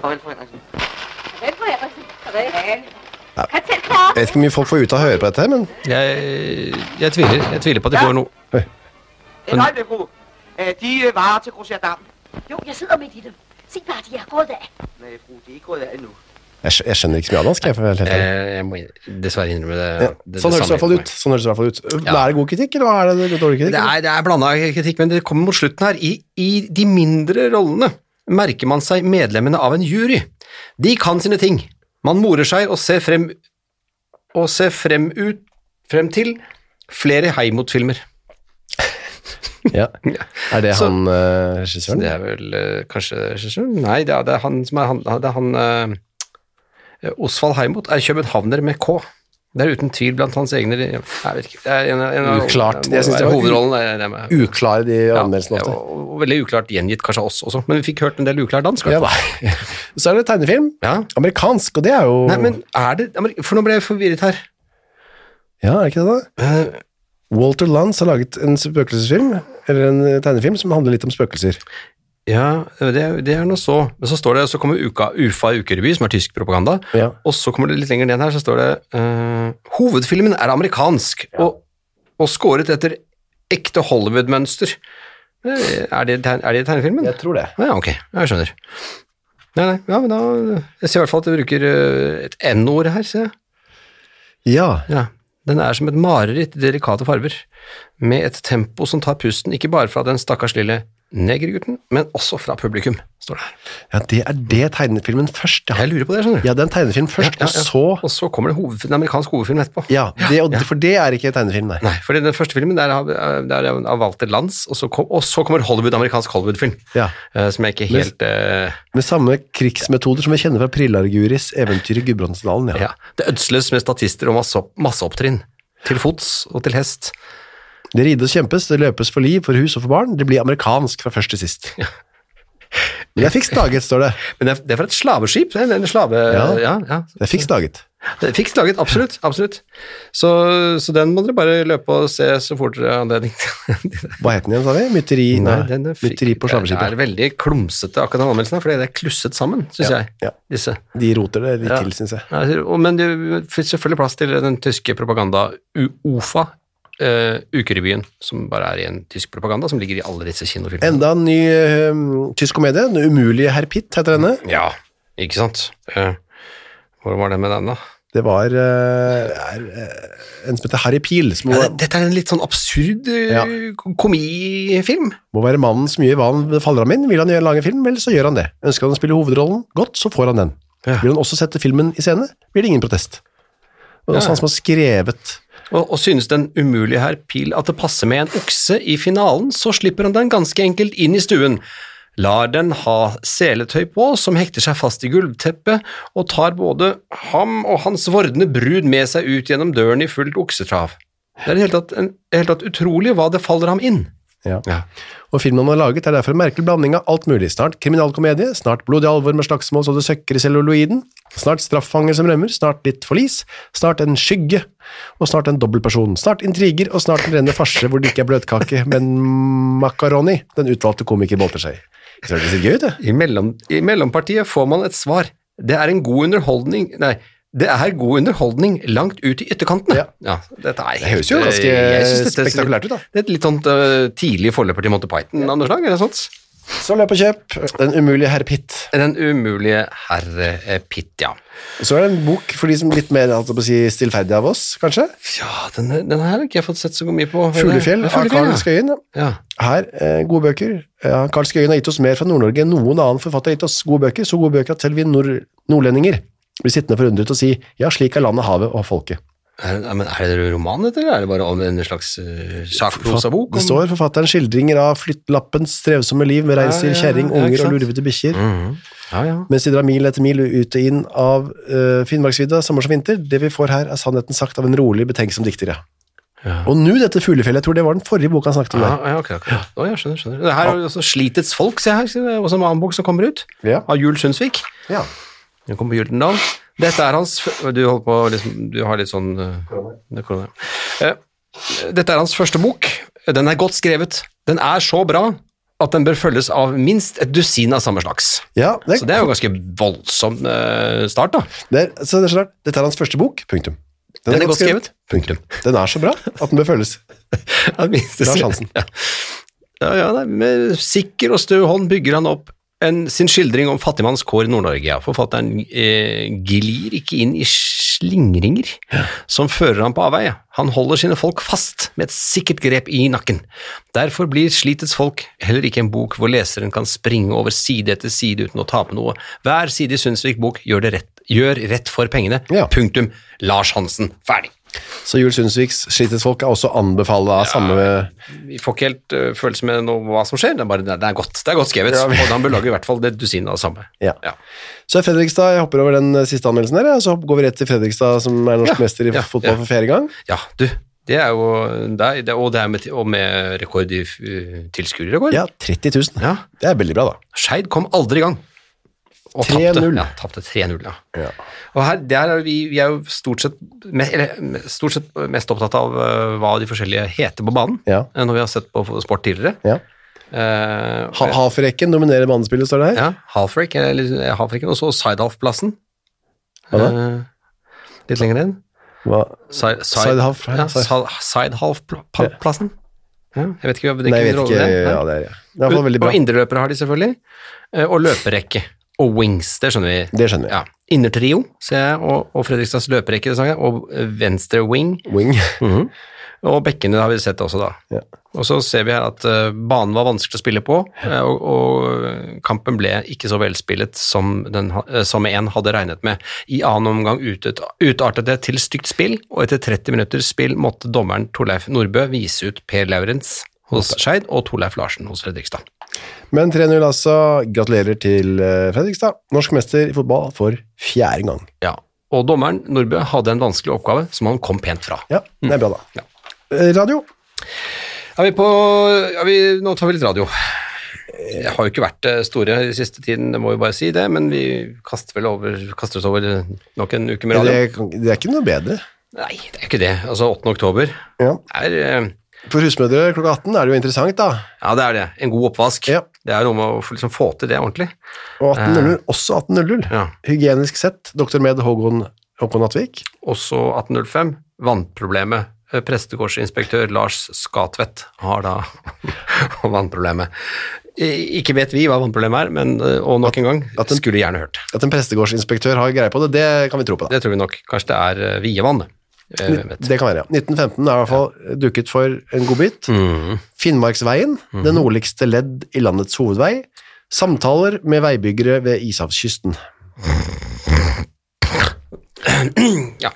Speaker 4: Farvel, fru Henriksen.
Speaker 5: Farvel, fru Henriksen. Farvel.
Speaker 1: Ja.
Speaker 5: Kom tæt på.
Speaker 1: Jeg vet ikke hvor mye folk får ut av å høre på dette, her, men
Speaker 2: Jeg, jeg tviler jeg tviler på at de får noe.
Speaker 4: En øjeblik, fru. Øh, De øh, varer til Grosjerdam.
Speaker 5: Jo, jeg sidder midt i dem. Se bare, de er gået af.
Speaker 4: Nej, fru, de er ikke gået af endnu.
Speaker 1: jeg, skj- jeg skjønner ikke så mye av dansk. Jeg, for å være helt ærlig.
Speaker 2: Eh, Jeg må dessverre innrømme det.
Speaker 1: Ja,
Speaker 2: det- det
Speaker 1: sånn høres det i
Speaker 2: samme
Speaker 1: hvert fall
Speaker 2: for meg.
Speaker 1: ut. Sånn høres det i hvert fall ut.
Speaker 2: Ja.
Speaker 1: Er det god kritikk, eller hva er det dårlig kritikk?
Speaker 2: Det er, det er blanda kritikk, men det kommer mot slutten her. I, I de mindre rollene merker man seg medlemmene av en jury. De kan sine ting. Man morer seg og ser frem, og ser frem, ut, frem til flere Heimot-filmer.
Speaker 1: Ja. Er det
Speaker 2: Så-
Speaker 1: han eh, regissøren?
Speaker 2: Det er vel eh, kanskje regissøren? Nei, det er, det er han som er han, det er han eh, Osvald Heimot er københavner med K. Det er uten tvil blant hans egne Jeg vet ikke. Det er en, av- en av-
Speaker 1: Uklart.
Speaker 2: må
Speaker 1: Jeg synes det
Speaker 2: være
Speaker 1: var u-
Speaker 2: hovedrollen. er det med-
Speaker 1: Uklare de
Speaker 2: Ja,
Speaker 1: anmeldelsene ofte.
Speaker 2: og, og veldig uklart gjengitt kanskje av oss også, men vi fikk hørt en del uklar dansk. i
Speaker 1: Ja,
Speaker 2: hvert fall.
Speaker 1: nei. <laughs> Så er det tegnefilm.
Speaker 2: Ja.
Speaker 1: Amerikansk, og det er jo
Speaker 2: Nei, men er det ja, men- For nå ble jeg forvirret her.
Speaker 1: Ja, er det ikke det, da?
Speaker 2: Eh,
Speaker 1: Walter Lantz har laget en spøkelsesfilm, eller en eh, tegnefilm, som handler litt om spøkelser.
Speaker 2: ja, det, er- det er nå så. Men så står det, så kommer uka, UFA ukerevy, som er tysk propaganda,
Speaker 1: Ja.
Speaker 2: og så kommer det litt lenger ned her, så står det eh, Hovedfilmen er amerikansk, og, og skåret etter ekte Hollywood-mønster. Eh, Er det, tegn- er det tegnefilmen?
Speaker 1: Jeg tror det.
Speaker 2: Å Ja, ok. Jeg skjønner. Nei, nei. Ja, men da Jeg ser i hvert fall at du bruker eh, et N-ord her, ser jeg.
Speaker 1: Ja.
Speaker 2: Ja. Den er som et mareritt i delikate farver, med et tempo som tar pusten ikke bare fra den stakkars lille negergutten, men også fra publikum, står det her.
Speaker 1: ja, det er det tegnefilmen først. Ja,
Speaker 2: Jeg lurer på det, skjønner du.
Speaker 1: ja det er en tegnefilm først,
Speaker 2: Ja, ja, ja.
Speaker 1: og så
Speaker 2: Og så kommer det hoved, en amerikansk hovedfilm etterpå.
Speaker 1: Ja, det, og, for det er ikke tegnefilm, nei.
Speaker 2: Nei, for den første filmen der, er- der er av Walter Lands, og så, kom, og så kommer Hollywood, amerikansk Hollywood-film,
Speaker 1: Ja.
Speaker 2: eh, som jeg ikke helt eh,
Speaker 1: Med samme krigsmetoder som vi kjenner fra Prillarguris eventyr i Gudbrandsdalen. Ja.
Speaker 2: ja. Det ødsles med statister og masse, masseopptrinn. Til fots og til hest.
Speaker 1: Det rides og kjempes, det løpes for liv, for hus og for barn. Det blir amerikansk fra først til sist. Men jeg fikk staget, står det.
Speaker 2: Men det er, det er fra et slaveskip? En, en slave... Ja.
Speaker 1: Ja.
Speaker 2: ja,
Speaker 1: Jeg fikk staget.
Speaker 2: Det Fikk slaget, Eh, absolutt. absolutt. Så, så den må dere bare løpe og se så fort dere har anledning til. <laughs>
Speaker 1: Hva het den igjen, sa vi? Mytteri, nei,
Speaker 2: den er fri-
Speaker 1: mytteri på
Speaker 2: Det
Speaker 1: slaveskipet.
Speaker 2: er veldig klumsete, akkurat den anmeldelsen, her, fordi det er klusset sammen, syns
Speaker 1: Ja,
Speaker 2: jeg.
Speaker 1: ja.
Speaker 2: disse.
Speaker 1: De roter det litt
Speaker 2: Ja.
Speaker 1: til, syns jeg.
Speaker 2: Nei, sier- og- Men det fikk selvfølgelig plass til den tyske propaganda U- OFA, eh, Ukerevyen, som bare er en tysk propaganda, som ligger i alle disse kinofilmene.
Speaker 1: Enda en ny øhm, tysk komedie. Den umulige herr Pitt heter denne.
Speaker 2: Ja, ikke sant? Eh, Hvordan var det med den, da?
Speaker 1: Det var øh, er, øh, en som heter Harry Pil, som må,
Speaker 2: Ja, det- Dette er en litt sånn absurd eh,
Speaker 1: Ja.
Speaker 2: ko- komifilm.
Speaker 1: må være mannen som gjør hva han faller ham inn. Vil han gjøre lage film, vel, så gjør han det. Ønsker han å spille hovedrollen godt, så får han den.
Speaker 2: Ja.
Speaker 1: Vil han også sette filmen i scene, blir det ingen protest. Og det er også han som har skrevet
Speaker 2: Og, og synes den umulige herr Pil at det passer med en okse i finalen, så slipper han den ganske enkelt inn i stuen. Lar den ha seletøy på, som hekter seg fast i gulvteppet, og tar både ham og hans vordende brud med seg ut gjennom døren i fullt oksetrav. Det er i det hele tatt, en- i det hele tatt utrolig hva det faller ham inn.
Speaker 1: ja.
Speaker 2: Ja.
Speaker 1: Og filmen han har laget er derfor en merkelig blanding av alt mulig. Snart kriminalkomedie, snart blodig alvor med slagsmål så det søkker i celluloiden, snart straffanger som rømmer, snart litt forlis, snart en skygge, og snart en dobbeltperson, snart intriger, og snart en rene farse hvor det ikke er bløtkake, men makaroni, den utvalgte komiker bolter seg. i. Så det ser gøy ut, det.
Speaker 2: I, mellom, I mellompartiet får man et svar. Det er en god underholdning Nei, det er god underholdning langt ut i ytterkantene.
Speaker 1: Ja.
Speaker 2: dette er helt, eh,
Speaker 1: høres jo ganske
Speaker 2: jeg synes dette er-
Speaker 1: spektakulært ut, da.
Speaker 2: Det er et litt sånt øh, tidlig forløper til Monty Python av noe slag. eller sånt.
Speaker 1: Så løp og kjøp Den umulige herr Pitt.
Speaker 2: Den umulige herre eh, Pitt, ja.
Speaker 1: Så er det en bok for de som er litt mer holdt jeg på å si, stillferdige av oss, kanskje.
Speaker 2: Ja, den, den her har ikke jeg fått sett så mye på.
Speaker 1: Fuglefjell
Speaker 2: Ja,
Speaker 1: av Karl
Speaker 2: ja.
Speaker 1: Skøyen. ja.
Speaker 2: Ja.
Speaker 1: Her, eh, gode bøker. Ja, Carl Skøyen har gitt oss mer fra Nord-Norge enn noen annen forfatter har gitt oss gode bøker, så gode bøker at selv vi nord nordlendinger blir sittende forundret og si ja, slik er landet, havet og folket.
Speaker 2: Er, ja, men er det roman, dette, eller er det bare om en slags uh, sakprosabok?
Speaker 1: Det
Speaker 2: om-
Speaker 1: står forfatteren skildringer av flyttlappens strevsomme liv med reinsdyr,
Speaker 2: Ja, ja, ja,
Speaker 1: kjerring,
Speaker 2: ja, ikke
Speaker 1: unger og
Speaker 2: sant?
Speaker 1: lurvete bikkjer.
Speaker 2: Mhm. Ja, ja.
Speaker 1: Mens de drar mil etter mil ut og inn av eh, Finnmarksvidda, sommer som vinter. Det vi får her, er sannheten sagt av en rolig, betenksom dikter. ja.
Speaker 2: Ja.
Speaker 1: Og nå dette fuglefjellet, jeg tror det var den forrige boka han snakket om.
Speaker 2: Ja,
Speaker 1: der.
Speaker 2: ja, ok, ok. Å, ja, skjønner, skjønner. Det her er jo også Slitets folk, se her, det er også en annen bok som kommer ut,
Speaker 1: Ja.
Speaker 2: av Jul Sundsvik.
Speaker 1: Ja.
Speaker 2: Den kommer på Gyldendal. Dette er hans, f- du holder på, å liksom, du har litt sånn... øh, det er korona. Eh, Dette er hans første bok. Den er godt skrevet. Den er så bra at den bør følges av minst et dusin av samme slags.
Speaker 1: Ja, det,
Speaker 2: Så det er jo ganske voldsom eh, start da.
Speaker 1: Det er, så det er så rart. Dette er hans første bok. Punktum.
Speaker 2: Den er godt skrevet. Punktum.
Speaker 1: Den er så bra at den bør følges.
Speaker 2: <laughs> Ja, minst
Speaker 1: Lars Hansen.
Speaker 2: Ja, ja, ja nei, med sikker og stø hånd bygger han opp en, sin skildring om fattigmannskår i Nord-Norge. Ja. Forfatteren eh, glir ikke inn i slingringer som fører ham på avveie. Han holder sine folk fast med et sikkert grep i nakken. Derfor blir Slitets folk heller ikke en bok hvor leseren kan springe over side etter side uten å tape noe. Hver side i Sundsvik bok gjør, det rett, gjør rett for pengene.
Speaker 1: Ja.
Speaker 2: Punktum. Lars Hansen. Ferdig.
Speaker 1: Så Jul Sundsviks Slitets folk er også anbefalt av samme
Speaker 2: vi får ikke helt øh, følelse med noe, hva som skjer, det er bare det er- det er godt, det er godt skrevet,
Speaker 1: Ja, vi-
Speaker 2: og da bør lage i hvert fall det dusinet av det samme.
Speaker 1: Ja.
Speaker 2: Ja.
Speaker 1: Så er Fredrikstad, jeg hopper over den eh, siste anmeldelsen her, ja, så går vi rett til Fredrikstad, som er norsk
Speaker 2: Ja,
Speaker 1: mester i
Speaker 2: ja,
Speaker 1: fotball
Speaker 2: ja.
Speaker 1: for fjerde gang.
Speaker 2: Ja, du, det er jo, det er, det, og det er med, og med rekord i øh, tilskuerrekord.
Speaker 1: Ja, 30 000.
Speaker 2: Ja.
Speaker 1: Det er veldig bra, da.
Speaker 2: Scheid kom aldri i gang. Og
Speaker 1: 3-0.
Speaker 2: tapte ja, tapte 3-0. Ja. Og her, der er vi, vi er jo stort sett, me- eller, stort sett mest opptatt av øh, hva de forskjellige heter på banen,
Speaker 1: Ja.
Speaker 2: eh, når vi har sett på sport tidligere.
Speaker 1: Ja.
Speaker 2: Eh,
Speaker 1: Ha Haferekken dominerer banespillet, står det her.
Speaker 2: Ja, Halfrek, eller Halfreken, og så Sidehalf-plassen.
Speaker 1: Hva da?
Speaker 2: Eh, litt lenger ned.
Speaker 1: Hva?
Speaker 2: Side,
Speaker 1: Sidehalf,
Speaker 2: ja,
Speaker 1: side-
Speaker 2: Sidehalf-plassen. Ja, jeg vet ikke hvilken
Speaker 1: Nei, jeg vet
Speaker 2: rolle
Speaker 1: ikke.
Speaker 2: det er.
Speaker 1: Ja, det er, ja. det er i hvert fall veldig bra.
Speaker 2: Og indreløpere har de selvfølgelig. Eh, Og løperekke. Og wings, det skjønner vi.
Speaker 1: Det skjønner jeg.
Speaker 2: Ja. Innertrio, ser jeg, og, og Fredrikstads løperekke, det sa jeg, og venstre wing.
Speaker 1: Wing.
Speaker 2: Mm. Og bekkene har vi sett også, da.
Speaker 1: Ja.
Speaker 2: Og så ser vi her at eh, banen var vanskelig å spille på, eh, og, og eh, kampen ble ikke så velspillet som, den, ha- eh, som en hadde regnet med. I annen omgang utet, utartet det til stygt spill, og etter 30 minutter spill måtte dommeren Torleif Nordbø vise ut Per Laurens hos Skeid og Torleif Larsen hos Fredrikstad.
Speaker 1: Men 3-0 altså. Gratulerer til eh, Fredrikstad. Norsk mester i fotball for fjerde gang.
Speaker 2: Ja. Og dommeren Nordbø hadde en vanskelig oppgave som han kom pent fra.
Speaker 1: Ja, det er bra da.
Speaker 2: Ja.
Speaker 1: Eh, Radio.
Speaker 2: Er vi på, er vi, nå tar vi litt radio. Jeg har jo ikke vært eh, store i siste tiden, det må vi bare si det, men vi kaster vel over, kaster oss over nok en uke med
Speaker 1: Det,
Speaker 2: radio.
Speaker 1: kan- det er ikke noe bedre.
Speaker 2: Nei, det er ikke det. Altså 8. oktober
Speaker 1: Ja.
Speaker 2: er, eh,
Speaker 1: For husmødre klokka 18 er det jo interessant da.
Speaker 2: ja det er det, en god oppvask.
Speaker 1: Ja.
Speaker 2: Det er noe med å få- liksom få til det ordentlig.
Speaker 1: Og 18.00, også 18.00.
Speaker 2: Ja.
Speaker 1: Hygienisk sett, Dr. Med Håkon, Håkon Atvik.
Speaker 2: Også 1805, vannproblemet. Eh, Prestegårdsinspektør Lars Skatvedt har da <laughs> vannproblemet. I- Ikke vet vi hva vannproblemet er, men, eh, og nok en gang,
Speaker 1: at den-
Speaker 2: skulle gjerne hørt.
Speaker 1: At en prestegårdsinspektør har greie på det, det kan vi tro på da.
Speaker 2: Det tror vi nok. Kanskje det er eh, Vievann. eh,
Speaker 1: Ni-
Speaker 2: vet.
Speaker 1: Det kan være, ja. 1915 er i hvert fall dukket for en god bit. Finnmarksveien,
Speaker 2: Mhm.
Speaker 1: det nordligste ledd i landets hovedvei. Samtaler med veibyggere ved Ishavskysten.
Speaker 2: Ja.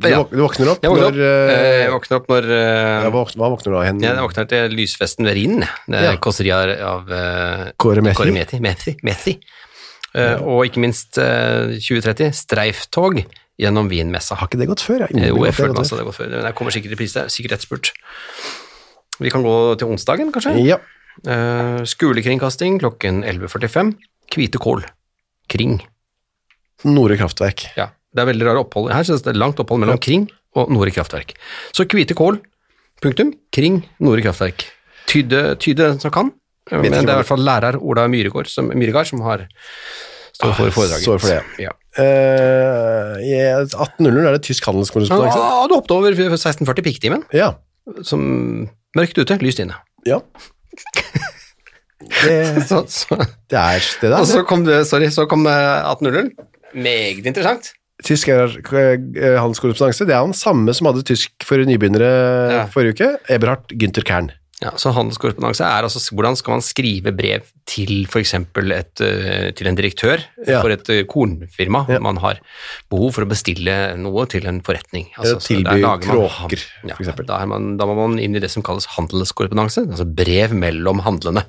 Speaker 1: Du,
Speaker 2: Ja.
Speaker 1: våk- du våkner opp
Speaker 2: Jeg våkner opp,
Speaker 1: når eh,
Speaker 2: eh, jeg våkner opp når eh,
Speaker 1: ja, våk- Hva våkner du av hen?
Speaker 2: ja, Jeg våkner til lysfesten ved Rhinen. jeg. Det er
Speaker 1: Ja.
Speaker 2: kåserier av eh,
Speaker 1: Kåre Methi?
Speaker 2: Kåre Methi. Methi. Methi. Eh, Og ikke minst eh, 2030, streiftog gjennom Wienmessa.
Speaker 1: Har ikke det gått før?
Speaker 2: Eh,
Speaker 1: innbiller
Speaker 2: Jo,
Speaker 1: meg
Speaker 2: jeg
Speaker 1: at det har
Speaker 2: føler
Speaker 1: gått
Speaker 2: meg altså det godt før. Men jeg kommer sikkert i pris der. Sikkert etterspurt. Vi kan gå til onsdagen, kanskje?
Speaker 1: før. Ja.
Speaker 2: Eh, skolekringkasting klokken 11.45. Hvite kål. Kring.
Speaker 1: Nore kraftverk.
Speaker 2: Ja, det er veldig rare opphold. Her synes jeg det er langt opphold mellom Kring og Nore Kraftverk. Så Kvite Kål, punktum, Kring, Nore Kraftverk. Tyde, tyde den som kan, men
Speaker 1: ikke
Speaker 2: det er
Speaker 1: hva
Speaker 2: i
Speaker 1: det-
Speaker 2: hvert fall lærer Ola Myregård som, Myregard som har står for foredraget.
Speaker 1: Ah, står for det,
Speaker 2: ja.
Speaker 1: Eh, i 1800 er det tysk
Speaker 2: Han
Speaker 1: handelskorrespondanse.
Speaker 2: hadde hoppet over 1640 pikktimen,
Speaker 1: Ja.
Speaker 2: som mørkt ute, lyst inne. <laughs>
Speaker 1: ja. Det,
Speaker 2: Så, så,
Speaker 1: det er det der.
Speaker 2: og så kom det, sorry, så kom eh, det 1800. Meget interessant.
Speaker 1: Tysk er- eh, handelskorrespondanse, det er han samme som hadde tysk for nybegynnere
Speaker 2: Ja.
Speaker 1: forrige uke. Eberhard Günther Kern.
Speaker 2: Ja, så handelskorrespondanse er altså s- hvordan skal man skrive brev til for eksempel et, eh, til en direktør
Speaker 1: Ja.
Speaker 2: for et eh, kornfirma
Speaker 1: Ja.
Speaker 2: om man har behov for å bestille noe til en forretning. Altså,
Speaker 1: Eller
Speaker 2: så
Speaker 1: tilby
Speaker 2: der lager man-
Speaker 1: kråker, for
Speaker 2: ja,
Speaker 1: eksempel.
Speaker 2: Da, er man, da må man inn i det som kalles handelskorrespondanse, altså brev mellom handlende.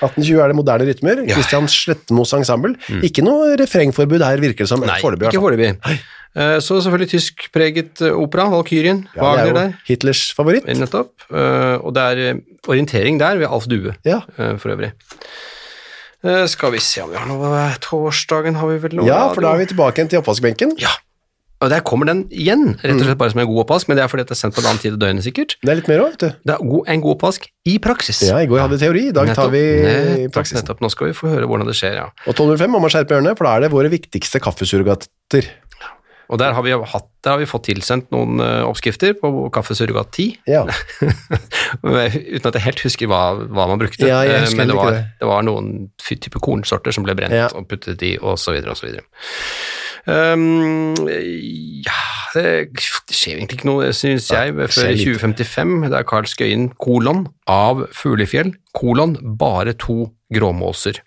Speaker 1: 1820 er det moderne rytmer. Christian Slettmos ensemble. Ikke noe refrengforbud her, virker det som.
Speaker 2: Mm. Nei,
Speaker 1: foreløpig, i
Speaker 2: ikke
Speaker 1: hvert fall.
Speaker 2: foreløpig. Eh, Så selvfølgelig tyskpreget eh, opera, Valkyrien,
Speaker 1: Ja,
Speaker 2: Wagner
Speaker 1: det er jo
Speaker 2: der,
Speaker 1: Hitlers favoritt.
Speaker 2: nettopp. Eh, Og det er eh, orientering der ved Alf Due.
Speaker 1: Ja.
Speaker 2: eh, for øvrig. Eh, Skal vi se om vi har noe eh, Torsdagen har vi vel noe
Speaker 1: ja, for da er vi tilbake igjen til oppvaskbenken.
Speaker 2: Ja. Og der kommer den igjen, rett og
Speaker 1: Mm.
Speaker 2: slett bare som en god oppvask, men det er fordi at det er sendt på en annen tid av døgnet, sikkert.
Speaker 1: Det er litt mer òg, vet du.
Speaker 2: Det er go- en god oppvask i praksis.
Speaker 1: Ja, I går hadde vi teori, i dag tar vi
Speaker 2: Nettopp,
Speaker 1: praksisen.
Speaker 2: Nettopp, nå skal vi få høre hvordan det skjer, ja.
Speaker 1: Og 1205 må man skjerpe ørene, for da er det våre viktigste kaffesurrogater.
Speaker 2: Og der har vi, hatt, der har vi fått tilsendt noen eh, oppskrifter på kaffesurrogat 10,
Speaker 1: Ja.
Speaker 2: uten at jeg helt husker hva, hva man brukte,
Speaker 1: Ja, jeg
Speaker 2: eh,
Speaker 1: husker
Speaker 2: men det
Speaker 1: heller
Speaker 2: var,
Speaker 1: ikke det.
Speaker 2: det var noen fy- type kornsorter som ble brent
Speaker 1: Ja.
Speaker 2: og puttet i, og så videre, og så videre. Um, ja, det skjer egentlig ikke noe, synes jeg, før
Speaker 1: skjer
Speaker 2: i
Speaker 1: lite.
Speaker 2: 2055. Det er Carl Skøyen, kolon, av Fuglefjell, kolon, bare to gråmåser.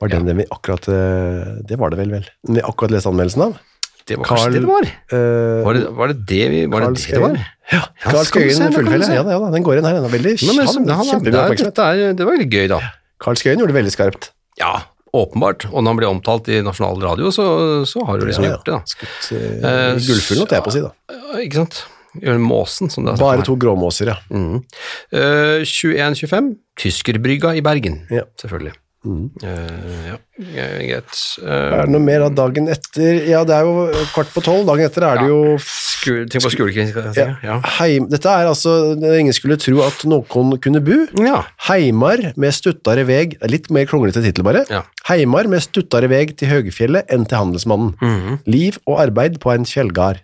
Speaker 1: Var den den vi akkurat eh, Det var det vel, vel. Den vi akkurat leste anmeldelsen av.
Speaker 2: Det var
Speaker 1: Carl-
Speaker 2: kanskje det det var?
Speaker 1: Eh,
Speaker 2: Var det var det det, vi, var
Speaker 1: Carl
Speaker 2: det, det, det
Speaker 1: Skøyen.
Speaker 2: var?
Speaker 1: Ja,
Speaker 2: skal
Speaker 1: Carl
Speaker 2: vi se,
Speaker 1: Skøyen
Speaker 2: da kan vi
Speaker 1: fullfeller.
Speaker 2: se.
Speaker 1: Ja, da, ja, da, den går inn her. Den er veldig
Speaker 2: Nei, men, så, det,
Speaker 1: han,
Speaker 2: han, det,
Speaker 1: kjempemye
Speaker 2: er-
Speaker 1: oppmerksomhet.
Speaker 2: dette er, det var veldig gøy, da.
Speaker 1: Carl Skøyen gjorde det veldig skarpt.
Speaker 2: Ja, åpenbart. Og når han ble omtalt i nasjonal radio, så, så har du liksom
Speaker 1: Ja, ja.
Speaker 2: gjort det, da.
Speaker 1: Skutt uh,
Speaker 2: Eh,
Speaker 1: gullfuglen, holdt jeg på å si. da.
Speaker 2: Ja, Ikke sant? Gjør måsen, som det er
Speaker 1: Bare
Speaker 2: snakk om her.
Speaker 1: to gråmåser, ja.
Speaker 2: Mm. Eh, 21.25, Tyskerbrygga i Bergen.
Speaker 1: Ja.
Speaker 2: Selvfølgelig.
Speaker 1: Mhm.
Speaker 2: Eh, ja, eh, greit.
Speaker 1: Er
Speaker 2: Eh,
Speaker 1: det noe mer av dagen etter? Ja, det er jo kvart på tolv. Dagen etter er det jo
Speaker 2: sku- Tenk på skolekringskastinga. Ja.
Speaker 1: heim... Dette er altså Ingen skulle tro at noen kunne bu.
Speaker 2: ja.
Speaker 1: Heimar med stuttare veg det er Litt mer kronglete tittel, bare.
Speaker 2: Ja.
Speaker 1: Heimar med stuttare veg til Høgefjellet enn til Handelsmannen.
Speaker 2: Mhm.
Speaker 1: Liv og arbeid på en fjellgard.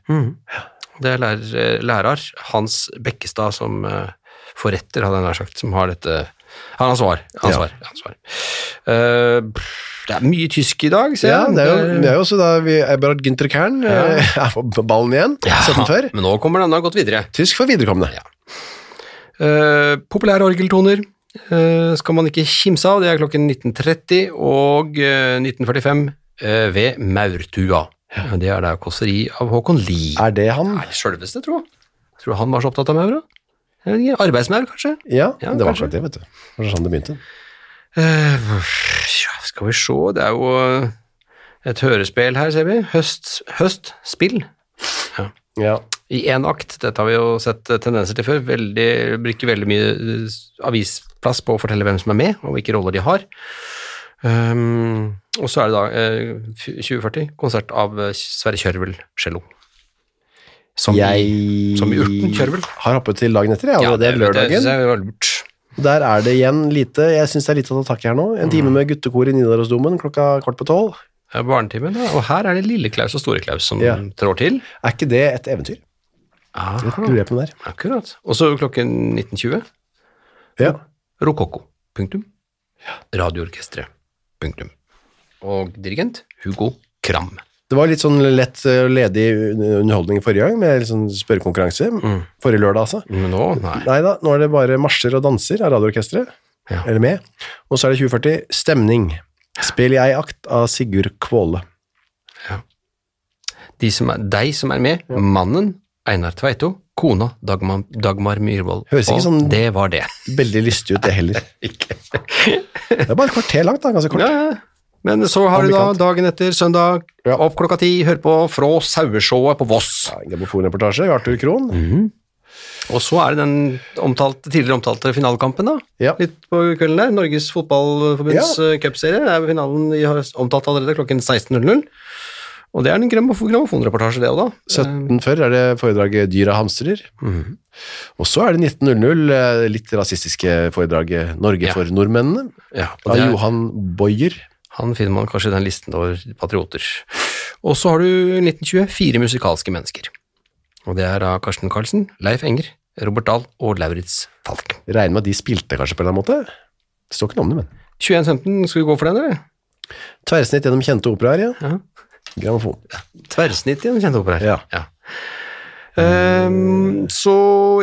Speaker 2: Det er lærer, lærer Hans Bekkestad som eh, forretter, hadde jeg nær sagt, som har dette Han har svar. Han
Speaker 1: Ja.
Speaker 2: har svar. Han har svar. Eh, pff, det er mye tysk i dag, ser
Speaker 1: Ja,
Speaker 2: jeg.
Speaker 1: det er jo, det er jo også da vi, Eberhard Günther Kern eh, <laughs> er på ballen igjen,
Speaker 2: Ja,
Speaker 1: 17 før.
Speaker 2: Men nå kommer den, den har gått videre.
Speaker 1: Tysk for viderekommende.
Speaker 2: Ja. Eh, populære orgeltoner eh, skal man ikke kimse av. Det er klokken 19.30 og eh, 19.45 eh, ved Maurtua. Det er da kåseri av Håkon Lie.
Speaker 1: Er det han?
Speaker 2: Nei, sjølveste, tro. Tror du han var så opptatt av maur? da? Jeg vet ikke, Arbeidsmaur, kanskje?
Speaker 1: Ja,
Speaker 2: Ja,
Speaker 1: det var
Speaker 2: kanskje.
Speaker 1: akkurat det, vet du. Det var sånn det begynte.
Speaker 2: Eh, ja, skal vi se, det er jo eh, et hørespill her, ser vi. Høst, høstspill
Speaker 1: Ja.
Speaker 2: i én akt. Dette har vi jo sett eh, tendenser til før. Veldig, bruker veldig mye eh, avisplass på å fortelle hvem som er med, og hvilke roller de har. Ehm, og så er det da eh, f- 2040, konsert av eh, Sverre Kjørvel, cello. Som
Speaker 1: Jeg
Speaker 2: som i urten, kjørvel.
Speaker 1: har hoppet til dagen etter, jeg,
Speaker 2: Ja,
Speaker 1: allerede
Speaker 2: det- Det
Speaker 1: lørdagen.
Speaker 2: synes jeg var lurt.
Speaker 1: Der er det igjen lite, jeg synes det er lite å ta takk i her nå. En time med guttekor i Nidarosdomen klokka kvart på tolv.
Speaker 2: Det er Barnetimen, da. Og her er det lille Klaus og store Klaus som
Speaker 1: Ja.
Speaker 2: trår til. Ah,
Speaker 1: Er ikke det et eventyr? Jeg lurer på det der.
Speaker 2: Akkurat. Og så klokken 19.20,
Speaker 1: Ja.
Speaker 2: Rokokko. Punktum. Radioorkestret. Punktum. Og dirigent Hugo Kram.
Speaker 1: Det var litt sånn lett eh, ledig underholdning forrige gang, med litt sånn spørrekonkurranse.
Speaker 2: Mm.
Speaker 1: Forrige lørdag, altså.
Speaker 2: Men nå, nei.
Speaker 1: Nei da, nå er det bare marsjer og danser av radioorkestret.
Speaker 2: Ja.
Speaker 1: Eller med. Og så er det 2040 Stemning. Spill jeg akt av Sigurd Kvåle.
Speaker 2: De som er, deg som er med, mannen Einar Tveito, kona Dagmar, Dagmar Myhrvold.
Speaker 1: Høres ikke
Speaker 2: Og
Speaker 1: sånn-
Speaker 2: det var det.
Speaker 1: Veldig lystig ut,
Speaker 2: <laughs>
Speaker 1: det heller. Det er bare et kvarter langt, da. Ganske kort.
Speaker 2: Ja, ja. Men så har du da
Speaker 1: Amerikant.
Speaker 2: dagen etter, søndag,
Speaker 1: Ja.
Speaker 2: opp klokka ti, hør på Frå saueshowet på Voss.
Speaker 1: Ja, en Grammofonreportasje ved Arthur Krohn.
Speaker 2: Mm. Og så er det den omtalte, tidligere omtalte finalekampen, da.
Speaker 1: Ja.
Speaker 2: Litt på kvelden der. Norges Fotballforbunds eh, cupserie. Det er finalen i har omtalt allerede klokken 16.00. Og det er en grammofo- grammofonreportasje, det òg, da.
Speaker 1: 17 før er det foredraget Dyr og hamstrer.
Speaker 2: Mm.
Speaker 1: Og så er det 19.00, eh, litt rasistiske foredraget Norge
Speaker 2: Ja.
Speaker 1: for nordmennene.
Speaker 2: Ja, og
Speaker 1: Av
Speaker 2: det er,
Speaker 1: Johan Boyer.
Speaker 2: Han finner man kanskje i den listen over patrioter. Og så har du 1920 fire musikalske mennesker. Og det er da Karsten Carlsen, Leif Enger, Robert Dahl og Lauritz Falk.
Speaker 1: Regner med at de spilte kanskje på en eller annen måte. Det står ikke noe om det, men.
Speaker 2: 21.15, skal vi gå for den, eller?
Speaker 1: Tverrsnitt gjennom kjente operaer, ja.
Speaker 2: Ja.
Speaker 1: Grammofon.
Speaker 2: Tverrsnitt i en kjent opera.
Speaker 1: Ja.
Speaker 2: Ehm, så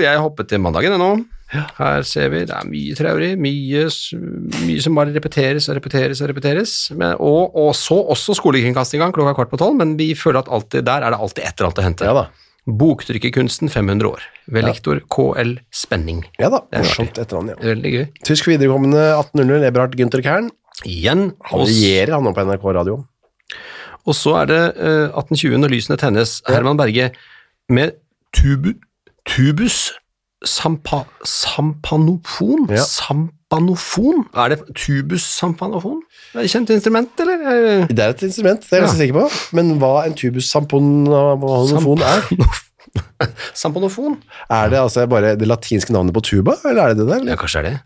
Speaker 2: jeg hoppet til mandagen ennå. Her ser vi, det er mye traurig, mye, s- mye som bare repeteres og repeteres og repeteres. Men, og, og så også skolekringkastinga klokka kvart på tolv, men vi føler at alltid, der er det alltid et eller annet å hente.
Speaker 1: Ja da.
Speaker 2: Boktrykkerkunsten 500 år, ved lektor KL Spenning.
Speaker 1: Ja da,
Speaker 2: er
Speaker 1: morsomt etter han, ja.
Speaker 2: Veldig gøy.
Speaker 1: Tysk viderekommende 18.00, Eberhard Günther Kern.
Speaker 2: Igjen.
Speaker 1: Han
Speaker 2: Og, s-
Speaker 1: regjerer han nå på NRK Radio.
Speaker 2: og så er det eh, 1820 når lysene tennes. Herman Berge med tubu, tubus sampa, sampanofon.
Speaker 1: Ja.
Speaker 2: Sampanofon? Er det tubus sampanofon? Er det et kjent instrument, eller? Eh,
Speaker 1: Det er et instrument, det er jeg ganske sikker på. Men hva en tubus samponofon er,
Speaker 2: Sampanofon?
Speaker 1: er det altså bare det latinske navnet på tuba, eller er det det der?
Speaker 2: Ja, kanskje det er det.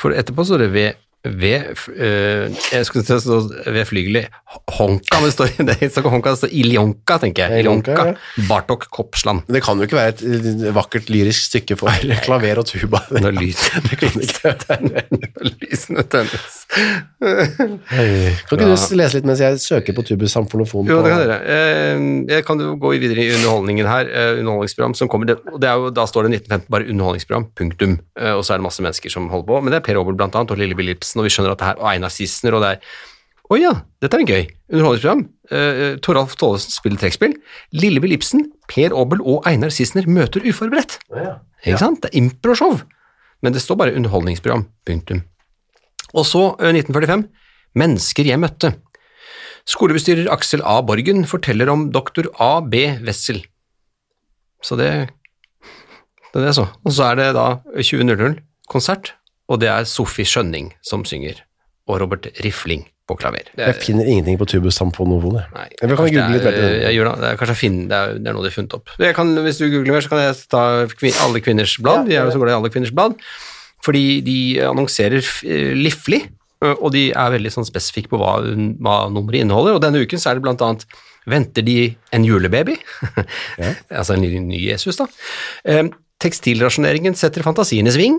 Speaker 2: For etterpå står det ved ved, øh, jeg skulle til å stå ved flygelet Honka, men det står, <laughs> det står ikke Honka, det står Iljonka, tenker jeg.
Speaker 1: Iljonka,
Speaker 2: Iljonka,
Speaker 1: ja.
Speaker 2: Bartok Kopsland.
Speaker 1: Det kan jo ikke være et vakkert lyrisk stykke for klaver og tuba.
Speaker 2: Når lysene <laughs> når lysene tennes.
Speaker 1: Kan ikke du lese litt mens jeg søker på tubus samfonofon?
Speaker 2: Jo,
Speaker 1: på-
Speaker 2: det kan dere. Eh, Jeg kan jo gå videre i underholdningen her. eh, Underholdningsprogram som kommer, det- og det er jo, da står det 1915, bare underholdningsprogram, punktum. Eh, Og så er det masse mennesker som holder på, men det er Per Obel blant annet, og Lille Billipsen, og vi skjønner at det her, og Einar Sissner, og det er, å ja, dette er gøy. Underholdningsprogram. Eh, eh, Toralf Tollesen spiller trekspill. Lille Billipsen, Per Obel og Einar Sissner møter uforberedt. Ikke sant? Det er improshow. Men det står bare underholdningsprogram, punktum. Og så, eh, 1945, mennesker jeg møtte. Skolebestyrer Aksel A. Borgen forteller om doktor A. B. Wessel. Så det det er det jeg så. Og så er det da 20.00 konsert, og det er Sofie Skjønning som synger, og Robert Rifling på klaver. Det
Speaker 1: Jeg finner ingenting på tubus samfonofon.
Speaker 2: nei,
Speaker 1: Jeg kan
Speaker 2: kanskje
Speaker 1: google
Speaker 2: det
Speaker 1: litt
Speaker 2: er,
Speaker 1: mer til det.
Speaker 2: Jeg gjør det. det er kanskje Finn, det er, det er noe de har funnet opp. Jeg kan, hvis du googler mer, så kan jeg ta kvin, Alle kvinners blad. De er jo så glad i Alle kvinners blad. Fordi de annonserer f- eh, liflig, ø, og de er veldig sånn spesifikke på hva, hun- hva nummeret inneholder. Og denne uken så er det blant annet <laughs> Venter de en julebaby? altså en ny, ny Jesus, da. Em, Tekstilrasjoneringen setter fantasien i sving.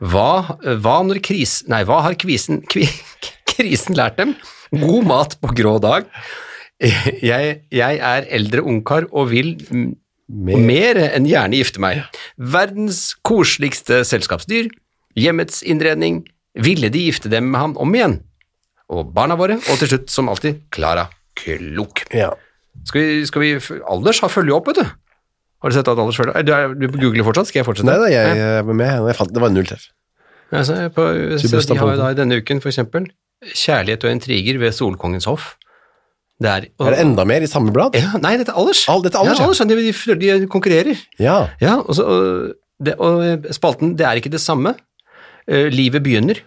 Speaker 2: Hva, hva, når kris, nei, hva har kvisen, kvi, <laughs> krisen lært dem? God mat på grå dag. <laughs> Jeg, jeg er eldre ungkar og vil mm,
Speaker 1: Mer.
Speaker 2: mer enn gjerne gifte meg. Verdens koseligste selskapsdyr. Hjemmets innredning. Ville de gifte dem med ham om igjen? Og barna våre, og til slutt, som alltid, Klara Klok.
Speaker 1: Ja.
Speaker 2: Skal vi, skal vi Alders har følge opp, vet du. Har du sett at Alders følger opp? Du, er- du googler fortsatt? Skal jeg fortsette?
Speaker 1: Nei da, jeg eh, var med. og Jeg fant, det var null treff.
Speaker 2: Ja, så er jeg på, så
Speaker 1: best av
Speaker 2: de har jo
Speaker 1: båten.
Speaker 2: da i denne uken, for eksempel, Kjærlighet og intriger ved Solkongens hoff. Det er, og,
Speaker 1: Er det enda mer i samme blad?
Speaker 2: ja, Nei, dette er Alders.
Speaker 1: Al- dette er Alders,
Speaker 2: ja.
Speaker 1: ja.
Speaker 2: Alders ja, de, de, de konkurrerer.
Speaker 1: Ja.
Speaker 2: Ja, og, så, og, det, og spalten Det er ikke det samme. Eh, livet begynner.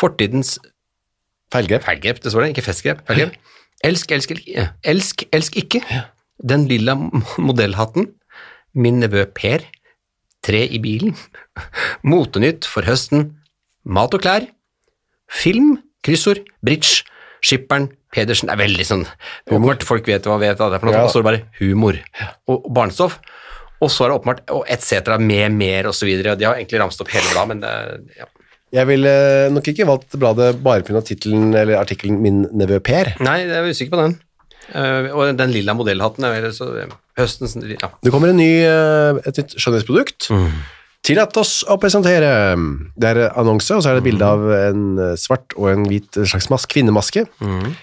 Speaker 2: Fortidens
Speaker 1: Feilgrep.
Speaker 2: Feilgrep, det står det. Ikke festgrep. Feilgrep. Elsk, elsk, elsk, ja. elsk, elsk ikke. Den lilla m- modellhatten. Min nevø Per. Tre i bilen. <laughs> Motenytt for høsten. Mat og klær. Film. Kryssord. Bridge. Skipperen. Pedersen. Det er veldig sånn humort. Folk vet hva vet hva det er for noe.
Speaker 1: Ja.
Speaker 2: Og så er det bare humor. Og barnestoff. Og så er det åpenbart og et cetera med mer og så videre. De har egentlig ramset opp hele bladet, men det, ja.
Speaker 1: Jeg ville eh, nok ikke valgt bladet bare pga. tittelen eller artikkelen 'Min nevø Per'.
Speaker 2: Nei, jeg er usikker på den. Eh, og den lilla modellhatten er vel så eh, høstens ja.
Speaker 1: Det kommer en ny, eh, et nytt skjønnhetsprodukt. Tillat oss å presentere. Det er annonse, og så er det bilde av en eh, svart og en hvit eh, slags mas kvinnemaske.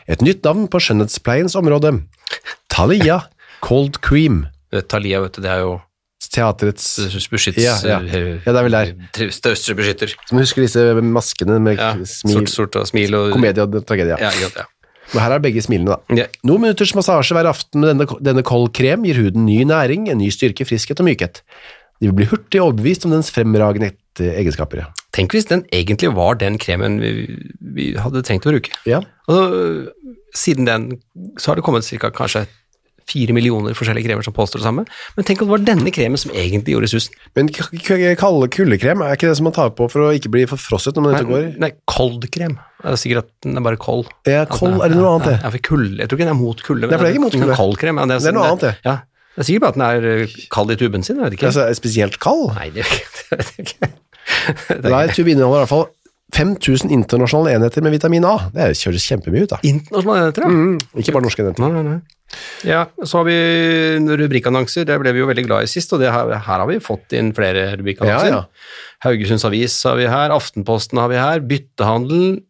Speaker 1: Et nytt navn på skjønnhetspleiens område. Thalia Cold Cream.
Speaker 2: Det er Thalia, vet du, det er jo
Speaker 1: Teaterets
Speaker 2: beskytts...
Speaker 1: Ja, ja.
Speaker 2: eh,
Speaker 1: Ja, det er vel der.
Speaker 2: tri- Største beskytter.
Speaker 1: Som husker disse maskene med
Speaker 2: Ja.
Speaker 1: smil,
Speaker 2: Sort, sort og smil og
Speaker 1: komedie og tragedie.
Speaker 2: Ja, ikke sant, ja.
Speaker 1: Men her er begge smilene, da.
Speaker 2: Ja.
Speaker 1: Noen minutters massasje hver aften med denne, denne koldkrem gir huden ny næring, en ny styrke, friskhet og mykhet. De vil bli hurtig overbevist om dens fremragende et- egenskaper. ja.
Speaker 2: Tenk hvis den egentlig var den kremen vi, vi hadde tenkt å bruke.
Speaker 1: Ja.
Speaker 2: Altså, siden den så har det kommet cirka kanskje fire millioner forskjellige kremer som påstår det samme. Men tenk om det var denne kremen som egentlig gjorde susen.
Speaker 1: Men k- k- kalde kuldekrem, er ikke det som man tar på for å ikke bli forfrosset når man er ute og
Speaker 2: Nei,
Speaker 1: går?
Speaker 2: nei, koldkrem. Det er sikkert at den er bare kold.
Speaker 1: Ja, kold, er det noe annet det?
Speaker 2: Ja, for kulde, jeg tror ikke den er mot kulde. men
Speaker 1: Nei, for det er ikke mot kulde.
Speaker 2: Koldkrem, ja, det, er, sånn
Speaker 1: Det er noe annet, det.
Speaker 2: Ja, det er sikkert bare at den er eh, kald i tuben sin, jeg vet ikke.
Speaker 1: Altså, er det spesielt kald?
Speaker 2: Nei, det vet jeg ikke. <laughs> Det er
Speaker 1: Hver tube inneholder i hvert fall 5000 internasjonale enheter med vitamin A. Det kjøres kjempemye ut, da.
Speaker 2: internasjonale enheter, ja.
Speaker 1: Ikke bare norske enheter.
Speaker 2: Nei, nei, nei. Ja, så har vi rubrikkannonser, det ble vi jo veldig glad i sist, og det her, her har vi fått inn flere
Speaker 1: Ja,
Speaker 2: rubrikkannonser.
Speaker 1: ja.
Speaker 2: Haugesunds Avis har vi her, Aftenposten har vi her, Byttehandel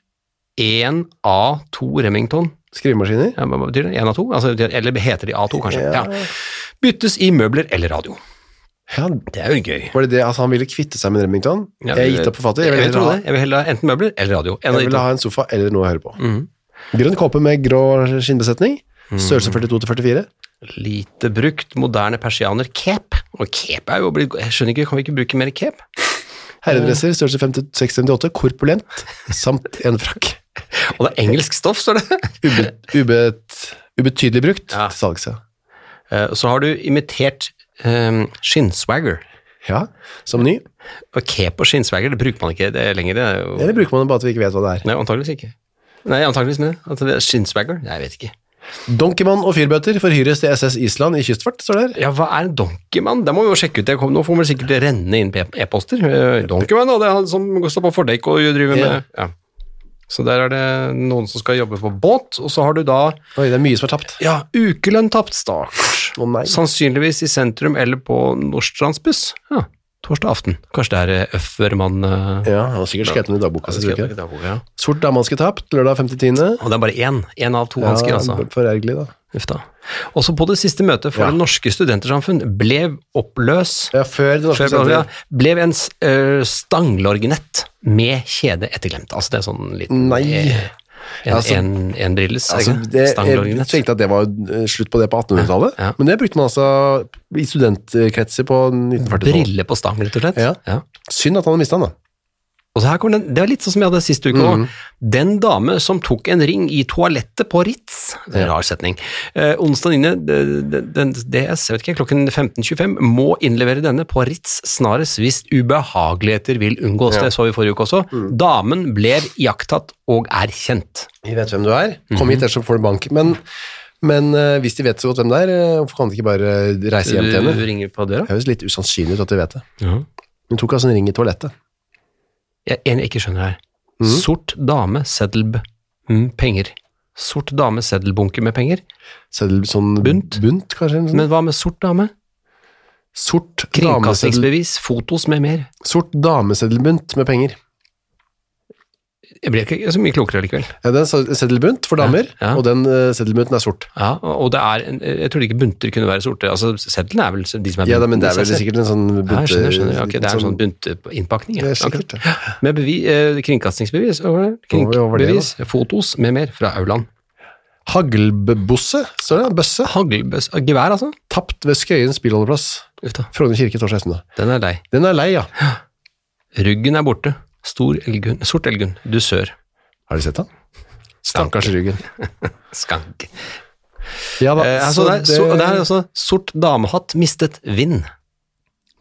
Speaker 2: 1A2 Remington.
Speaker 1: Skrivemaskiner.
Speaker 2: Ja, hva betyr det? En av to? Altså, eller heter de A2, kanskje?
Speaker 1: Ja.
Speaker 2: Ja. Byttes i møbler eller radio.
Speaker 1: Ja,
Speaker 2: Det er jo gøy.
Speaker 1: var det det? Altså, han ville kvitte seg med Remington.
Speaker 2: Ja,
Speaker 1: jeg gitt opp forfatter.
Speaker 2: Jeg,
Speaker 1: Jeg
Speaker 2: vil
Speaker 1: ville
Speaker 2: tro
Speaker 1: ha,
Speaker 2: det. Jeg vil heller ha enten møbler eller radio. En av
Speaker 1: jeg
Speaker 2: de
Speaker 1: ville
Speaker 2: to.
Speaker 1: ha en sofa eller noe å høre på.
Speaker 2: Mhm.
Speaker 1: Grønn kåpe med grå skinnbesetning. Størrelse 42 til 44.
Speaker 2: Lite brukt, moderne persianer, cape. Og cape er jo blitt Jeg skjønner ikke, kan vi ikke bruke mer cape?
Speaker 1: Herredresser størrelse 56-58. Korpulent. Samt en frakk.
Speaker 2: Og det er engelsk stoff, står det. <laughs>
Speaker 1: Ube, ubet, ubetydelig brukt
Speaker 2: Ja.
Speaker 1: til salgs. ja.
Speaker 2: Eh, Så har du imitert eh, skinnswagger.
Speaker 1: Ja, som ny.
Speaker 2: Og cape og skinnswagger, det bruker man ikke det lenger. Det er jo
Speaker 1: Eller bruker man det bare at vi ikke vet hva det er?
Speaker 2: Nei, antageligvis ikke. Nei, antageligvis men at det er Skinnswagger? Nei, jeg vet ikke.
Speaker 1: Donkeymann og fyrbøter forhyres til SS Island i kystfart, står det her.
Speaker 2: Ja, hva er en donkeyman? Det må vi jo sjekke ut. Det kom, nå får vi sikkert renne inn pe- e-poster. Eh, Donkeyman, da, det er han som står på fordekk og driver med
Speaker 1: Ja.
Speaker 2: ja. Så der er det noen som skal jobbe på båt, og så har du da
Speaker 1: Oi, det er mye som er tapt.
Speaker 2: ja, ukelønn tapt, stakkars.
Speaker 1: Å nei.
Speaker 2: Sannsynligvis i sentrum eller på Nordstrandsbuss. Ja, torsdag aften. Kanskje det er eh, Øffermann eh,
Speaker 1: Ja, han har sikkert skrevet den i dagboka.
Speaker 2: det
Speaker 1: så tror jeg
Speaker 2: skrev
Speaker 1: ikke det.
Speaker 2: i dagboka, ja.
Speaker 1: Sort damehanske tapt, lørdag 5.10.
Speaker 2: Og det er bare én. Én av to hansker, altså.
Speaker 1: Forergelig, da.
Speaker 2: Uff da. Også på det siste møtet for
Speaker 1: Ja.
Speaker 2: Det norske studentersamfunn ble oppløs
Speaker 1: Ja, før det norske
Speaker 2: før, ja,
Speaker 1: senteret.
Speaker 2: ble en s- ø, stanglorgnett med kjede etterglemt. Altså det er sånn liten
Speaker 1: Nei.
Speaker 2: eh, En,
Speaker 1: Altså,
Speaker 2: en, en brilles,
Speaker 1: Altså,
Speaker 2: ikke?
Speaker 1: det, jeg
Speaker 2: Stanglorgnett.
Speaker 1: tenkte at det var eh, slutt på det på 1800-tallet,
Speaker 2: Ja.
Speaker 1: men det brukte man altså i studentkretser på 1940-tallet.
Speaker 2: Brille på stang, rett og slett.
Speaker 1: Ja. Synd at han hadde mistet den, da.
Speaker 2: Og så her kommer den, Det var litt sånn som jeg hadde sist uke òg. Den dame som tok en ring i toalettet på Ritz. Det er en rar setning. Eh, onsdag inne, det- det- den- DS, jeg vet ikke, klokken 15.25 må innlevere denne på Ritz snarest hvis ubehageligheter vil unngås. Det så vi forrige uke også. Damen ble iakttatt og er kjent. Mhm.
Speaker 1: Vi vet hvem du er. Kom hit, ellers så får du bank. Men Men eh, hvis de vet så godt hvem det er, eh, hvorfor kan de ikke bare reise hjem til
Speaker 2: Du
Speaker 1: henne?
Speaker 2: ringer på døra?
Speaker 1: Det høres litt usannsynlig ut at de vet det.
Speaker 2: Ja.
Speaker 1: Hun tok altså en ring i toalettet.
Speaker 2: Jeg, en jeg ikke skjønner her. Sort dame, seddelb, mm, penger. Sort dame, seddelbunke med penger.
Speaker 1: Seddel, sånn
Speaker 2: Bunt?
Speaker 1: bunt kanskje? eller noe sånt?
Speaker 2: Men hva med sort dame?
Speaker 1: Sort dameseddel,
Speaker 2: Kringkastingsbevis, fotos med mer.
Speaker 1: sort dameseddelbunt med penger.
Speaker 2: Jeg ble ikke så mye klokere likevel.
Speaker 1: Ja, det er en seddelbunt for damer,
Speaker 2: Ja, ja.
Speaker 1: og den eh, seddelbunten er sort.
Speaker 2: Ja, og og det er, en- jeg trodde ikke bunter kunne være sorte. Altså, Seddelen er vel de som er bunten.
Speaker 1: Ja, da, men det er
Speaker 2: i
Speaker 1: vel
Speaker 2: seg selv.
Speaker 1: sikkert en sånn bunte...
Speaker 2: Ja, jeg skjønner, jeg skjønner. Ja, ok, det er en sånn buntinnpakning.
Speaker 1: Det
Speaker 2: Ja.
Speaker 1: er sikkert,
Speaker 2: Akkurat. <laughs> Med bevi, eh, kringkastingsbevis, hva var det?
Speaker 1: Hva var det,
Speaker 2: Kringbevis, fotos med mer fra Auland.
Speaker 1: Haglbosse, står det, bøsse,
Speaker 2: Haglbøs, gevær altså?
Speaker 1: tapt ved Skøyen spillholdeplass.
Speaker 2: Uff da,
Speaker 1: Frogner kirke torsdag ettermiddag.
Speaker 2: den er lei.
Speaker 1: Den er lei, ja.
Speaker 2: Ryggen er borte. Stor elghund, sort elghund, dusør,
Speaker 1: Har du sett den? Stakkars ryggen.
Speaker 2: skank.
Speaker 1: Ja da,
Speaker 2: Eh, altså,
Speaker 1: så
Speaker 2: det, er, så, det er altså sort damehatt, mistet vind.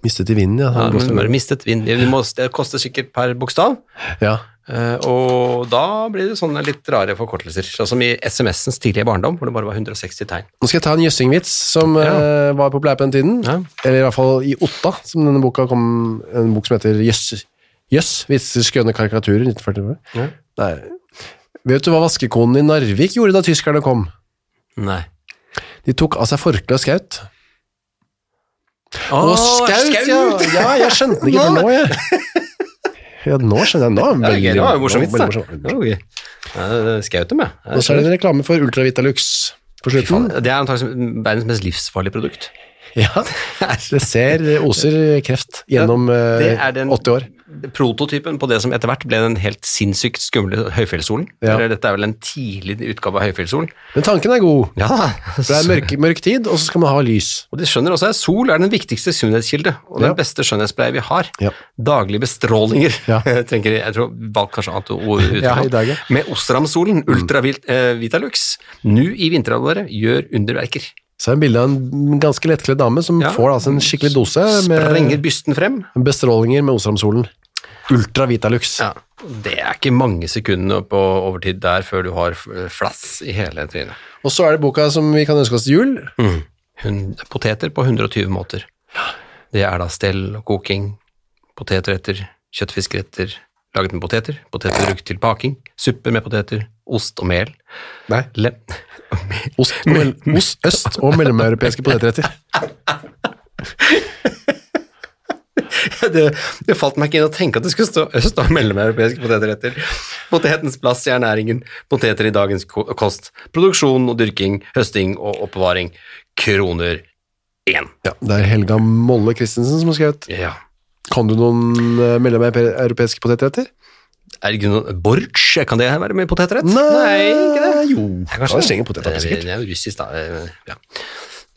Speaker 1: Mistet i vinden, ja.
Speaker 2: Ja,
Speaker 1: Han blåste-
Speaker 2: men bare mistet vind. Det, må, det koster sikkert per bokstav.
Speaker 1: ja.
Speaker 2: Eh, og da blir det sånne litt rare forkortelser, sånn som i SMS-ens tidlige barndom, hvor det bare var 160 tegn.
Speaker 1: Nå skal jeg ta en jøssingvits som
Speaker 2: Ja.
Speaker 1: eh, var populær på den tiden.
Speaker 2: Ja.
Speaker 1: Eller i hvert fall i Otta, som denne boka kom En bok som heter Jøss. Jøss vitser skønne karikaturer. 1940.
Speaker 2: Ja.
Speaker 1: Nei. Vet du hva vaskekonen i Narvik gjorde da tyskerne kom?
Speaker 2: Nei.
Speaker 1: De tok av seg forkle og skaut.
Speaker 2: Å,
Speaker 1: Å, skaut, ja! Ja, jeg skjønte den ikke før nå, jeg. Ja, nå skjønner jeg. Nå
Speaker 2: Det
Speaker 1: er
Speaker 2: er
Speaker 1: veldig-
Speaker 2: gøy, det var jo morsom vits,
Speaker 1: veldig
Speaker 2: da.
Speaker 1: morsom, veldig
Speaker 2: Det
Speaker 1: morsom.
Speaker 2: var gøy. Ja, det- det Skaut dem, jeg.
Speaker 1: Og så er det en reklame for Ultravitalux på
Speaker 2: Fy faen,
Speaker 1: slutten.
Speaker 2: Det er antakelig verdens mest livsfarlige produkt. <laughs>
Speaker 1: Ja, det ser eh, oser kreft gjennom
Speaker 2: Det
Speaker 1: eh,
Speaker 2: er den
Speaker 1: 80 år.
Speaker 2: prototypen på det som etter hvert ble den helt sinnssykt skumle høyfjellssolen.
Speaker 1: Ja.
Speaker 2: Eller Dette er vel en tidlig utgave av høyfjellssolen.
Speaker 1: Men tanken er god.
Speaker 2: <laughs> Ja,
Speaker 1: For det er mørk, mørk tid, og så skal man ha lys.
Speaker 2: Og de skjønner også at sol er den viktigste sunnhetskilde, og den
Speaker 1: Ja.
Speaker 2: beste skjønnhetspleie vi har.
Speaker 1: Ja.
Speaker 2: Daglige bestrålinger,
Speaker 1: Ja.
Speaker 2: tenker <laughs> jeg. Jeg tror valg kanskje annet
Speaker 1: <laughs>
Speaker 2: ord ut.
Speaker 1: Ja, i dag, ja. Mm.
Speaker 2: Med Ostramsolen, ultravitalux, nu i vinterhalvåret, gjør underverker.
Speaker 1: Så er det en bilde av en ganske lettkledd dame som
Speaker 2: Ja.
Speaker 1: får altså en skikkelig dose
Speaker 2: Sprenger
Speaker 1: med
Speaker 2: bysten frem.
Speaker 1: bestrålinger med Osramsolen. Ultra Vitalux.
Speaker 2: Ja, det er ikke mange sekundene på overtid der før du har f- flass i hele trynet.
Speaker 1: Og så er det boka som vi kan ønske oss til jul.
Speaker 2: Mm. Hun- Poteter på 120 måter. Det er da stell og koking, potetretter, kjøttfiskretter, laget med poteter, poteter brukt til paking, suppe med poteter, ost og mel.
Speaker 1: Nei,
Speaker 2: Lem.
Speaker 1: ost, og mel- ost, øst og mellomeuropeiske potetretter.
Speaker 2: <laughs> Det, det falt meg ikke inn å tenke at det skulle stå <laughs> øst og mellomeuropeiske potetretter. Potetens plass i ernæringen, poteter i dagens ko- kost, produksjon og dyrking, høsting og oppbevaring. Kroner én.
Speaker 1: Ja, det er Helga Molle Christensen som har skrevet.
Speaker 2: Ja.
Speaker 1: Kan du noen eh, mellomeuropeiske potetretter?
Speaker 2: Er det ikke noe Borch? Kan det her være med potetrett? ikke det.
Speaker 1: Jo,
Speaker 2: Det er
Speaker 1: kanskje det er strenge poteter.
Speaker 2: Det er-
Speaker 1: sikkert.
Speaker 2: Det er jo russisk, da. Eh, Ja.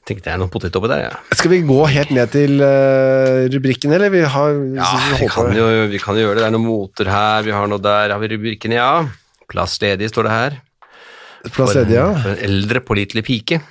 Speaker 2: Tenkte jeg noen potet oppi der, ja.
Speaker 1: Skal vi gå helt ned til eh, rubrikken, eller? Vi har
Speaker 2: ja vi,
Speaker 1: holdt på
Speaker 2: kan jo, vi kan jo gjøre det. Det er noen moter her, vi har noe der. Har vi rubrikken, ja. Plass ledig, står det her.
Speaker 1: plass ledig, ja. <laughs>
Speaker 2: for en eldre, pålitelig pike.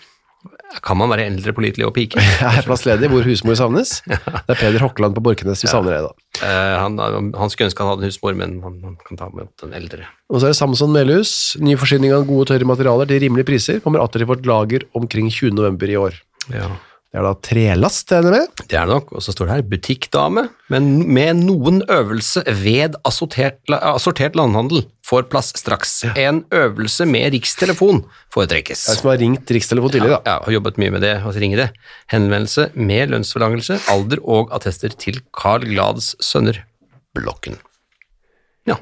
Speaker 2: Kan man være eldre, pålitelig og
Speaker 1: <laughs>
Speaker 2: pike?
Speaker 1: Er plass ledig hvor husmor
Speaker 2: <laughs>
Speaker 1: savnes? Det er Peder Hokkeland på Borkenes vi savner deg, da.
Speaker 2: Eh, han, han skulle ønske han hadde en husmor, men han, han kan ta med opp den eldre.
Speaker 1: Og så er det Samson Melhus. Ny forsyning av gode, tørre materialer til rimelige priser kommer atter i vårt lager omkring 20. november i år.
Speaker 2: Ja.
Speaker 1: Det er da trelast, regner jeg med.
Speaker 2: Det er det nok. Og så står det her 'butikkdame', men med noen øvelse ved assortert, la- assortert landhandel får plass straks. En øvelse med rikstelefon
Speaker 1: Det er
Speaker 2: foretrekkes.
Speaker 1: som har ringt Rikstelefon tidligere, da.
Speaker 2: Ja, har jobbet mye med det, og så ringer det. Henvendelse med lønnsforlangelse, alder og attester til Carl Glads sønner. Blokken. Ja.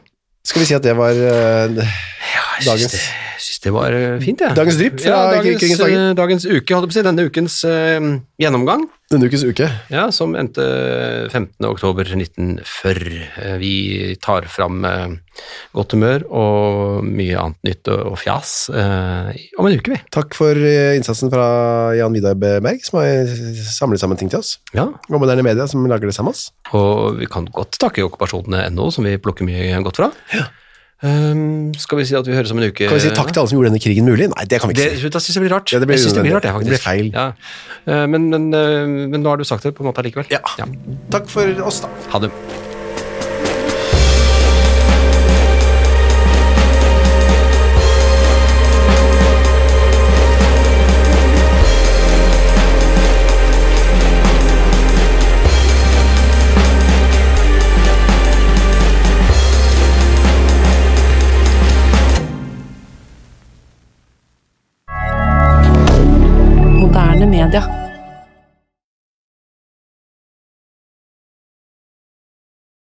Speaker 1: Skal vi si at det var eh,
Speaker 2: Jeg
Speaker 1: dagens
Speaker 2: syns det, jeg syns det var eh, fint, jeg.
Speaker 1: Dagens drypp fra
Speaker 2: dagens,
Speaker 1: Krigens dager.
Speaker 2: eh, dagens uke, holdt jeg på å si. Denne ukens eh, gjennomgang.
Speaker 1: denne ukes uke?
Speaker 2: Ja, som endte 15. oktober 1940. Eh, Vi tar fram eh, godt humør og mye annet nytt og og fjas eh, om en uke, vi.
Speaker 1: Takk for eh, innsatsen fra Jan Vidar Berg, som har samlet sammen ting til oss.
Speaker 2: Ja,
Speaker 1: Og Moderne Media, som lager det sammen med oss.
Speaker 2: og vi kan godt takke okkupasjonene.no, som vi plukker mye godt fra. Ehm, skal vi si at vi høres om en uke?
Speaker 1: Kan vi si takk til alle som gjorde denne krigen mulig? Nei, det kan vi
Speaker 2: Eh. det,
Speaker 1: ikke si.
Speaker 2: da synes jeg blir rart.
Speaker 1: Ja, det blir
Speaker 2: jeg synes det blir
Speaker 1: unødvendig.
Speaker 2: rart, jeg, faktisk.
Speaker 1: Det blir feil.
Speaker 2: Ja. Eh, Men, men, eh, men nå har du sagt det på en måte allikevel.
Speaker 1: Ja. Takk for oss, da.
Speaker 2: Ha det.
Speaker 6: moderne media.